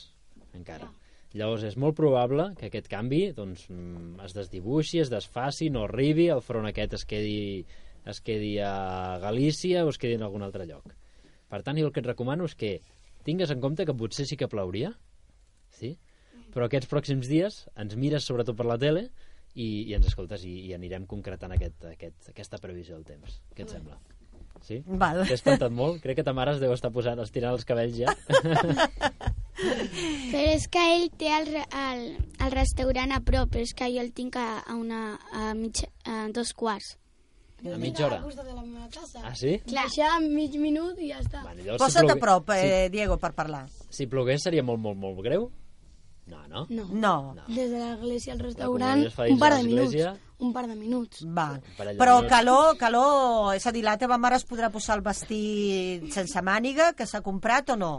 H: encara. Llavors és molt probable que aquest canvi doncs, mm, es desdibuixi, es desfaci, no arribi, el front aquest es quedi, es quedi a Galícia o es quedi en algun altre lloc. Per tant, jo el que et recomano és que tingues en compte que potser sí que plauria, sí? però aquests pròxims dies ens mires sobretot per la tele i, i ens escoltes i, i anirem concretant aquest, aquest, aquesta previsió del temps. Què et sembla? Sí?
G: Val.
H: T'he espantat molt? Crec que ta mare es deu estar posant, estirant els cabells
G: [LAUGHS]
H: ja.
E: Però és que ell té el, re- el, el restaurant a prop, però és que jo el tinc a, a, una, a, mig, a dos quarts.
H: A mitja hora.
F: Al costat de la meva casa.
H: Ah, sí?
F: Clar. Deixar mig minut i ja està. Vale,
H: llavors
G: Posa't a
H: plogui-
G: prop, eh, Diego, per parlar.
H: Si plogués seria molt, molt, molt greu? No, no?
F: No.
G: No.
F: Des de l'església al
H: La
F: restaurant,
H: comunió es fa dins
F: un par
H: de
F: de minuts.
H: l'església.
F: Un par de minuts.
G: Val.
H: parell de
G: Però
H: minuts.
G: calor, calor... És a dir, la teva mare es podrà posar el vestit sense màniga que s'ha comprat o no?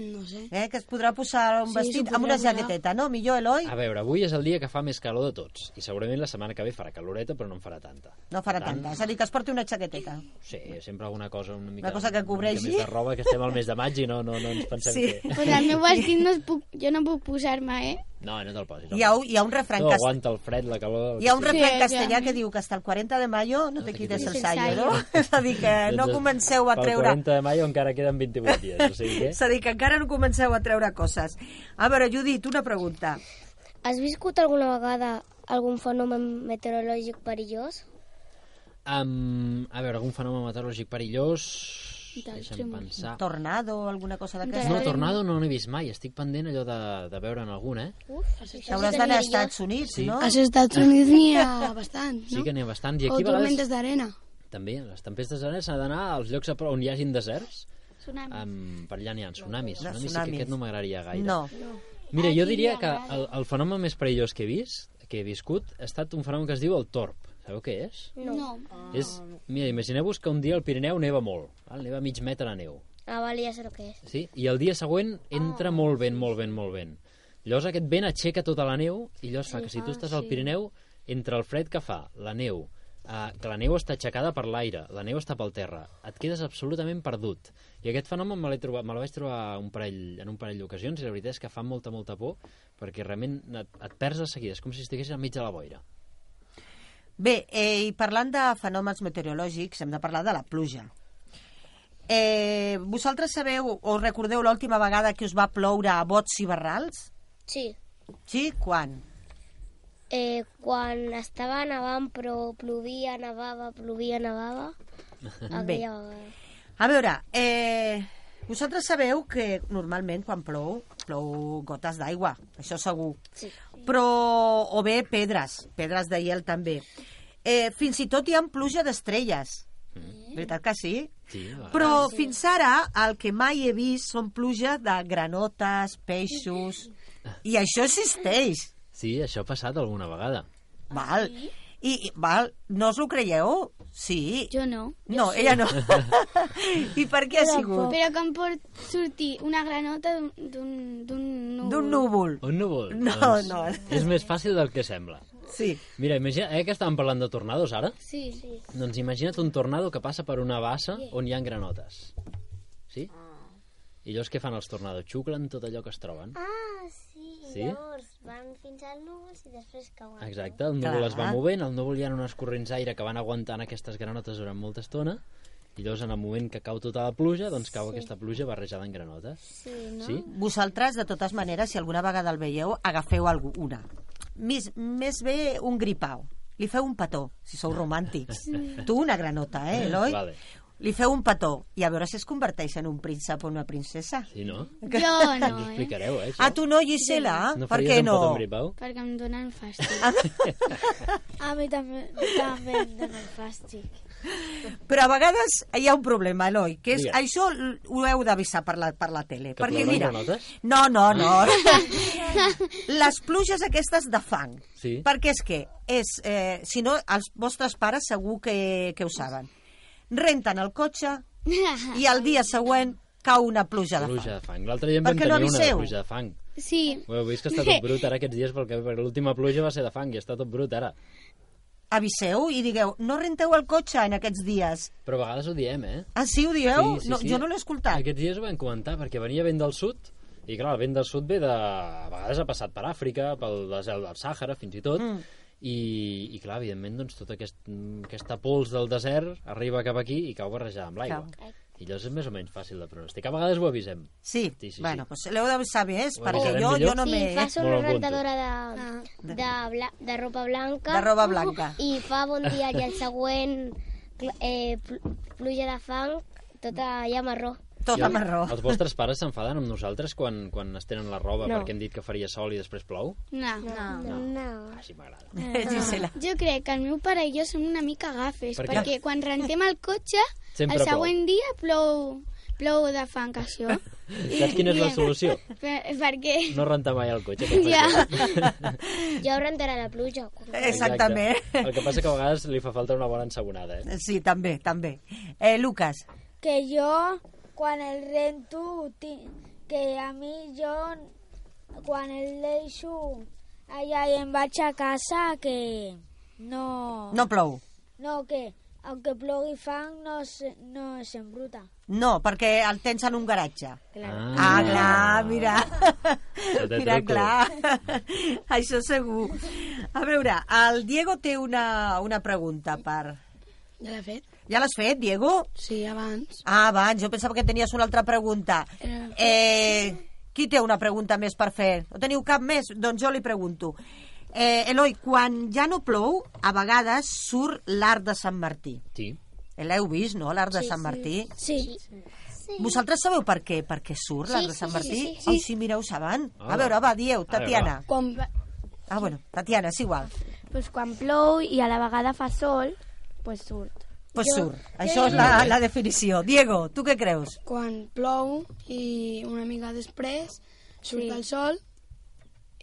F: No sé.
G: Eh? Que es podrà posar un
F: Sí,
G: sí, vestit
F: s'ho
G: amb una
F: podrà posar.
G: jaqueteta, no? Millor, Eloi?
H: A veure, avui és el dia que fa més calor de tots i segurament la setmana que ve farà caloreta però no en farà tanta.
G: No farà
H: Per tant,
G: tanta. És a dir, que es porti una jaqueteta.
H: Sí, sempre alguna cosa una mica...
G: Una cosa que
H: Una
G: cobreixi.
H: mica més de roba que estem al mes de maig i no, no, no ens pensem
G: Sí.
H: que...
E: Pues el
G: [LAUGHS]
E: meu vestit no es puc, jo no puc posar-me, eh?
H: No, no te'l posis.
G: Hi ha, hi ha un refrany,
H: No,
G: cas-
H: aguanta el fred, la calor...
G: hi ha un refrany
F: Sí,
G: castellà
F: ja.
G: que diu que hasta el 40 de mayo no te quites el
F: quites el
G: saio, no?
F: saio.
G: És a dir, que no
H: Doncs,
G: comenceu a treure...
H: Pel 40 de maig encara queden 28 dies, o sigui que...
G: És a dir, que encara no comenceu a treure coses. A veure, Judit, una pregunta.
D: Has viscut alguna vegada algun fenomen meteorològic perillós?
H: Um, a veure, algun fenomen meteorològic perillós...
D: Del
H: Deixa'm
D: Tremol.
H: pensar...
G: Tornado o alguna cosa d'aquesta?
H: No, tornado no n'he vist mai. Estic pendent allò de, de veure'n algun, eh?
D: Uf,
G: T'hauràs d'anar als Estats Units,
H: Sí.
G: no?
H: Als
F: Estats Units n'hi ha bastant,
H: Sí que n'hi ha bastant. I
F: O
H: aquí a
F: tormentes
H: vegades...
F: d'arena.
H: També, les tempestes d'arena s'ha d'anar als llocs a prop on hi hagin deserts.
E: Tsunami.
H: Um, per allà n'hi ha tsunamis.
G: De
H: Tsunamis sí
G: tsunamis.
H: que aquest no m'agradaria gaire.
G: No.
H: Mira, jo diria
E: hi
H: que
E: ha
H: el, el fenomen més perillós que he vist, que he viscut, ha estat un fenomen que es diu el torb. Sabeu què és?
E: No.
H: És, mira, imagineu-vos que un dia al Pirineu neva molt, val? neva mig metre de neu,
D: Ah, vale, ja sé el que és.
H: sí? i el dia següent entra molt vent, molt vent, molt vent. Llavors aquest vent aixeca tota la neu i llavors fa que si tu estàs al Pirineu, entre el fred que fa, la neu, eh, que la neu està aixecada per l'aire, la neu està pel terra, et quedes absolutament perdut. I aquest fenomen me l'he trobat, me la vaig trobar un parell, en un parell d'ocasions i la veritat és que fa molta, molta por perquè realment et, et perds de seguida, és com si estiguessis al mig de la boira.
G: Bé, eh, i parlant de fenòmens meteorològics, hem de parlar de la pluja. Eh, vosaltres sabeu o recordeu l'última vegada que us va ploure a bots i barrals?
D: Sí.
G: Sí? Quan?
D: Eh, quan estava nevant, però plovia, nevava, plovia, nevava, aquella
G: Bé.
D: vegada.
G: A veure, eh, vosaltres sabeu que normalment quan plou, plou gotes d'aigua, això segur.
D: Sí.
G: Però, o bé pedres, pedres de hiel també. Eh, fins i tot hi ha pluja d'estrelles. Veritat que sí?
H: Sí, va.
E: Ah,
G: Però fins ara el que mai he vist són pluja de granotes, peixos... I això existeix.
H: Sí, això ha passat alguna vegada.
G: Val. I, i- val, no us ho creieu?
H: [LAUGHS]
G: Sí.
E: Jo no.
G: No, ella no. I per què ha sigut?
E: Però que em pot sortir una granota d'un- d'un d'un núvol.
G: D'un núvol.
H: Un núvol?
G: No,
H: doncs,
G: no.
H: És més fàcil del que sembla.
G: Sí.
H: Mira, imagina, eh, que estàvem parlant de tornados ara?
E: Sí. sí.
H: Doncs imagina't un tornado que passa per una bassa on hi ha granotes. Sí? I llavors què fan els tornados? Xuclen tot allò que es troben.
D: Ah, sí,
H: Sí?
D: llavors van fins al núvol i després cauen.
H: Exacte, el núvol es va movent, al núvol hi ha unes corrents d'aire que van aguantant aquestes granotes durant molta estona, i llavors en el moment que cau tota la pluja, doncs cau
G: Sí.
H: aquesta pluja barrejada en granotes.
D: Sí,
H: no? Sí?
G: Vosaltres, de totes maneres, si alguna vegada el veieu, agafeu algú- una. Més, més bé un gripau. Li feu un petó, si sou romàntics. Tu una granota, eh, Eloi?
H: Vale.
G: Li feu un petó i a veure si es converteix en un príncep o una princesa.
H: Sí, no?
G: [LAUGHS]
E: Jo no,
H: Ho
E: eh?
H: explicareu, eh?
G: Ah, tu no, Gisela?
H: No
G: per
H: faries
G: què
H: un petó
G: no?
H: amb gripau?
E: Perquè em donen
G: Ah.
E: fàstic.
B: A mi també, també em donen fàstic.
G: Però a vegades hi ha un problema, Eloi, que és,
B: Digues.
G: això l- ho heu d'avisar per la, per la tele.
H: Que
G: perquè,
H: plouen
G: mira,
H: granotes?
G: no, no, no. Les pluges aquestes de fang.
H: Sí.
G: Perquè és que, és, eh, si no, els vostres pares segur que, que ho saben. Renten el cotxe i al dia següent cau una pluja de fang.
H: Pluja de fang. L'altre dia en
G: Per
H: vam
G: què no
H: tenir una de
G: aviseu?
H: pluja de fang.
E: Sí.
H: Ho heu vist que està tot brut ara aquests dies perquè, perquè l'última pluja va ser de fang i està tot brut ara.
G: Aviseu i digueu, no renteu el cotxe en aquests dies.
H: Però a vegades ho diem, eh?
G: Ah, sí, ho dieu?
H: Sí, sí,
G: no,
H: sí.
G: Jo no l'he escoltat.
H: Aquests dies ho vam comentar perquè venia vent del sud i clar, el vent del sud ve de... A vegades ha passat per Àfrica, pel desert del Sàhara fins i tot,
G: Mm.
H: i, i clar, evidentment, doncs, tota aquest, mm, aquesta pols del desert arriba cap aquí i cau barrejada amb l'aigua. I llavors és més o menys fàcil de pronosticar. A vegades ho avisem.
G: Sí,
H: sí, sí
G: bueno, pues l'heu de saber, és,
H: Ho
G: perquè
H: avisarem
G: jo, jo
H: millor.
G: no m'he...
D: I fa sobre
H: Molt
D: una
H: bon punt.
D: rentadora de, de, bla, de ropa blanca.
G: Ah, De roba blanca.
D: I fa bon dia i el següent cl- eh, pl- pluja de fang, tota ja marró.
H: I el- Els vostres pares s'enfaden amb nosaltres quan, quan es tenen la roba
D: No.
H: perquè hem dit que faria sol i després plou?
E: No.
D: No.
E: no. Eh,
H: Així m'agrada.
G: Eh, Gisela.
E: Jo crec que el meu pare i jo som una mica agafes,
H: Per què?
E: perquè quan rentem el cotxe,
H: Sempre
E: el següent dia plou, plou de fang, això.
H: [LAUGHS] Saps quina és la solució?
E: [LAUGHS] Per, perquè...
H: No rentar mai el
G: [LAUGHS]
H: cotxe. que
E: Ja.
D: Ja ho rentarà la pluja.
G: Exactament.
H: Exacte. El que passa que a vegades li fa falta una bona ensabonada, eh?
G: Sí, també, també. Eh, Lucas,
B: Que jo, quan el rento, ti- que a mi jo, quan el deixo allà i em vaig a casa, que no...
G: no plou.
B: No, que aunque plogui fang no, se, no s'embruta.
G: No, perquè el tens en un garatge.
B: Clar.
G: Ah, clar, mira.
B: te
G: Mira,
B: truco.
G: clar. Això segur. A veure, el Diego té una, una pregunta per...
F: Ja l'he fet?
G: Ja l'has fet, Diego?
F: Sí, abans.
G: Ah, abans, jo pensava que tenies una altra pregunta.
F: Era-
G: Eh, qui té una pregunta més per fer? No teniu cap més? Doncs jo li pregunto. Eh, Eloi, quan ja no plou, a vegades surt l'arc de Sant Martí. Eh,
H: Sí.
G: L'heu vist, no?, l'arc de Sant Martí?
B: Sí.
G: Vosaltres sabeu per què? Per què surt l'arc
B: Sí,
G: de
B: sí,
G: Sant
B: sí,
G: Martí?
B: sí, sí.
G: Ai, sí, mira, ho saben.
I: Ah.
G: A veure, va, dieu,
I: veure,
G: Tatiana.
F: Quan...
G: Ah, bueno, Tatiana, és igual.
I: Pues quan plou i a la vegada fa sol, pues surt.
G: Pues
I: Jo-
G: surt. Això és la, la definició. Diego, tu què creus?
F: Quan plou i una mica després surt
J: Sí.
F: el sol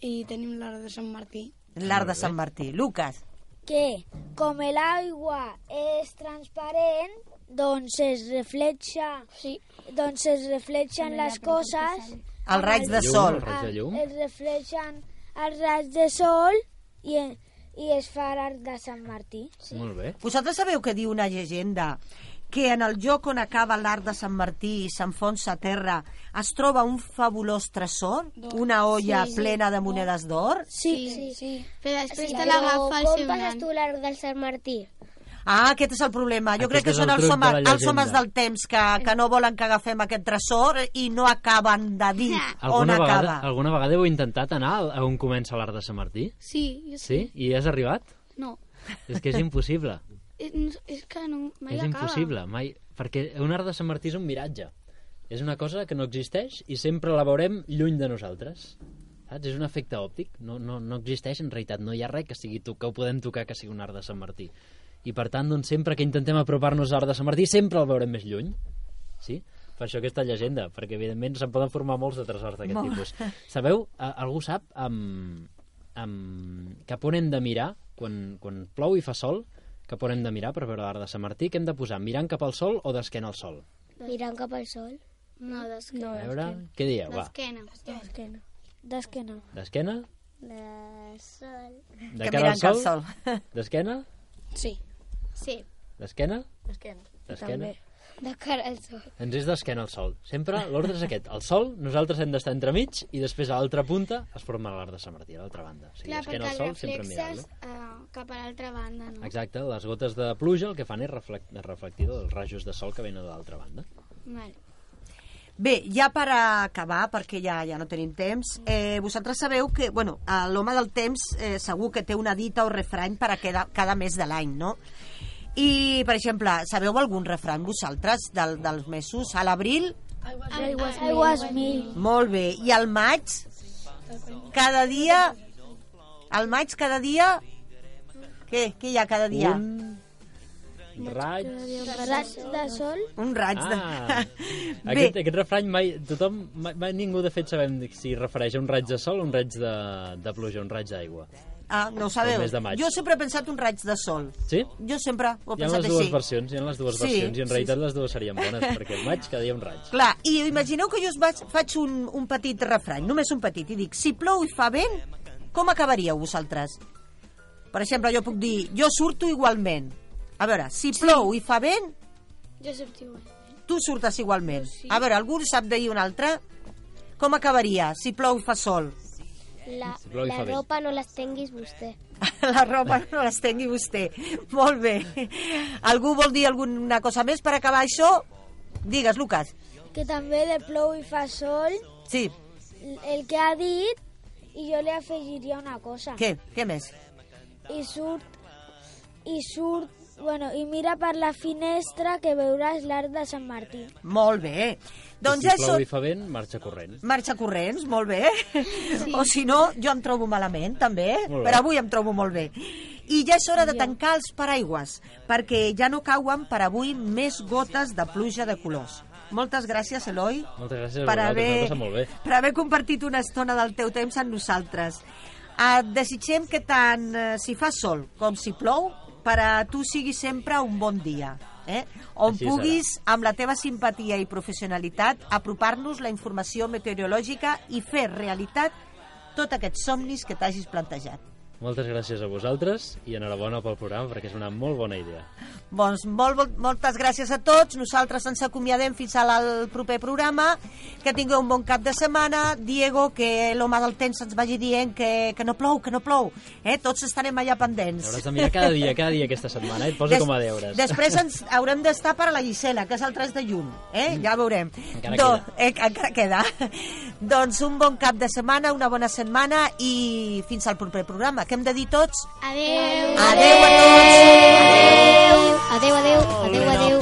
F: i tenim l'hora de Sant Martí.
G: L'arc de Sant Martí. Lucas.
B: Que com el aigua és transparent, doncs es refleja, sí. doncs es reflexen les coses.
G: Els raigs de
B: Llum,
G: sol.
B: els
H: raigs de llum.
B: Ah, Es reflexen els raigs de sol i, i es fa l'arc de Sant Martí.
H: Molt bé.
G: Vosaltres sabeu que diu una llegenda que en el lloc on acaba l'arc de Sant Martí i s'enfonsa a terra es troba un fabulós tresor, una olla
D: Sí, sí.
G: plena de monedes d'or?
D: sí.
E: Però després
D: Sí,
E: te
D: però
E: l'agafa el
D: com
E: semblant.
D: passes tu l'arc del Sant Martí?
G: Ah, aquest és el problema. Jo
H: Aquest
G: crec que
H: és
G: són
H: el
G: els
H: truc
G: homes,
H: de la
G: els homes
H: llegenda.
G: del temps que, que no volen que agafem aquest tresor i no acaben de dir on
H: Alguna vegada,
G: acaba.
H: alguna vegada heu intentat anar al- a on comença l'art de Sant Martí?
E: Sí, jo
H: Sí? I has arribat?
E: No.
H: És que és impossible.
E: Eh, no, És que no, mai
H: és
E: acaba.
H: impossible, mai. Perquè un art de Sant Martí és un miratge. És una cosa que no existeix i sempre la veurem lluny de nosaltres. Saps? És un efecte òptic. No, no, no existeix, en realitat. No hi ha res que, sigui to- que ho podem tocar que sigui un art de Sant Martí. I per tant, doncs, sempre que intentem apropar-nos a l'art de Sant Martí, sempre el veurem més lluny. Sí? Per això aquesta llegenda, perquè evidentment se'n poden formar molts de tresors d'aquest
N: Molt.
H: tipus. Sabeu, a- algú sap amb, amb, cap on hem de mirar quan, quan plou i fa sol? Cap on hem de mirar per veure l'art de Sant Martí? Què hem de posar? Mirant cap al sol o d'esquena al sol?
D: Mirant cap al sol.
E: No, d'esquena.
H: A veure, què dieu? Va,
E: D'esquena. D'esquena.
B: D'esquena.
H: d'esquena?
D: De sol.
H: De cara al sol? D'esquena?
D: Sí. Sí.
H: D'esquena?
D: D'esquena.
H: D'esquena?
D: De cara al sol.
H: Ens és d'esquena al sol. Sempre l'ordre és aquest. Al sol, nosaltres hem d'estar entremig i després a l'altra punta es forma l'art de Sant Martí, a l'altra banda. O sigui,
E: Clar,
H: esquena
E: perquè
H: al
E: el
H: sol, sempre mirant-lo.
E: reflexes eh, cap a l'altra banda, no?
H: Exacte, les gotes de pluja el que fan és reflect, reflectir els rajos de sol que venen de l'altra banda.
E: Vale.
G: Bé, ja per acabar, perquè ja ja no tenim temps, eh, vosaltres sabeu que, bueno, eh, l'home del temps eh, segur que té una dita o refrany per a cada, cada mes de l'any, no? I, per exemple, sabeu algun refrany vosaltres del, dels mesos? A l'abril?
B: Aigües mil.
G: Molt bé. I al maig? Cada dia... Al maig, cada dia... Què? Què hi ha cada dia?
H: Raig...
B: Raig de sol.
G: Un raig de... [LAUGHS]
H: Ah, aquest, aquest refrany mai, tothom, mai, mai ningú de fet sabem si refereix a un raig de sol o un raig de, de pluja, un raig d'aigua.
G: Ah, no ho sabeu.
H: El mes de maig.
G: Jo sempre he pensat un raig de sol.
H: Sí?
G: Jo sempre ho he
H: Hi ha
G: pensat
H: les dues
G: així.
H: versions, hi ha les dues
G: Sí,
H: versions i en
G: sí,
H: realitat
G: sí.
H: les dues serien bones perquè el maig cada dia un raig.
G: Clar, i imagineu que jo us vaig, faig un, un petit refrany, només un petit, i dic, si plou i fa vent, com acabaríeu vosaltres? Per exemple, jo puc dir, jo surto igualment. A veure, si plou i fa vent,
E: Jo surto igual.
G: tu surtes igualment. A veure, algú sap dir un altre? Com acabaria si plou i fa sol? [LAUGHS]
D: La,
G: Si plou i fa
D: la
G: vent.
D: ropa no l'estenguis vostè.
G: La roba no l'estengui vostè. Molt bé. Algú vol dir alguna cosa més per acabar això? Digues, Lucas.
B: Que també de plou i fa sol,
G: Sí,
B: el que ha dit, i jo li afegiria una cosa.
G: què? Què més?
B: I surt, i surt, bueno, i mira per la finestra que veuràs l'arc de Sant Martí.
G: Molt bé. Doncs
H: si
G: ja això...
H: plou i fa vent, marxa corrent.
G: Marxa corrents, molt bé. Sí. O si no, jo em trobo malament, també.
H: Molt bé.
G: Però avui em trobo molt bé. I ja és hora de tancar els paraigües, perquè ja no cauen per avui més gotes de pluja de colors. Moltes gràcies, Eloi,
H: Moltes gràcies
G: Per
H: a vosaltres,
G: haver-
H: m'ho he passat molt bé.
G: per haver compartit una estona del teu temps amb nosaltres. Et desitgem que tant eh, si fa sol com si plou, per a tu sigui sempre un bon dia. Eh? On
O: Així
G: Així
O: serà.
G: puguis, amb la teva simpatia i professionalitat, apropar-nos la informació meteorològica i fer realitat tots aquests somnis que t'hagis plantejat.
H: Moltes gràcies a vosaltres i enhorabona pel programa perquè és una molt bona idea.
G: Doncs molt, molt, moltes gràcies a tots. Nosaltres ens acomiadem fins al, al proper programa. Que tingueu un bon cap de setmana. Diego, que l'home del temps ens vagi dient que, que no plou, que no plou. Eh? Tots estarem allà pendents.
H: Hauràs de mirar cada dia, cada dia aquesta setmana, eh? et posa
G: Des-
H: com a deures.
G: Després ens haurem d'estar per a la Gisela, que és el 3 de juny. Eh? Ja veurem.
H: Mm. Encara
G: eh, encara queda. [LAUGHS] doncs un bon cap de setmana, una bona setmana i fins al proper programa. Què hem de dir tots?
D: Adeu.
G: Adeu a tots!
D: Adeu, adeu, adeu, adeu.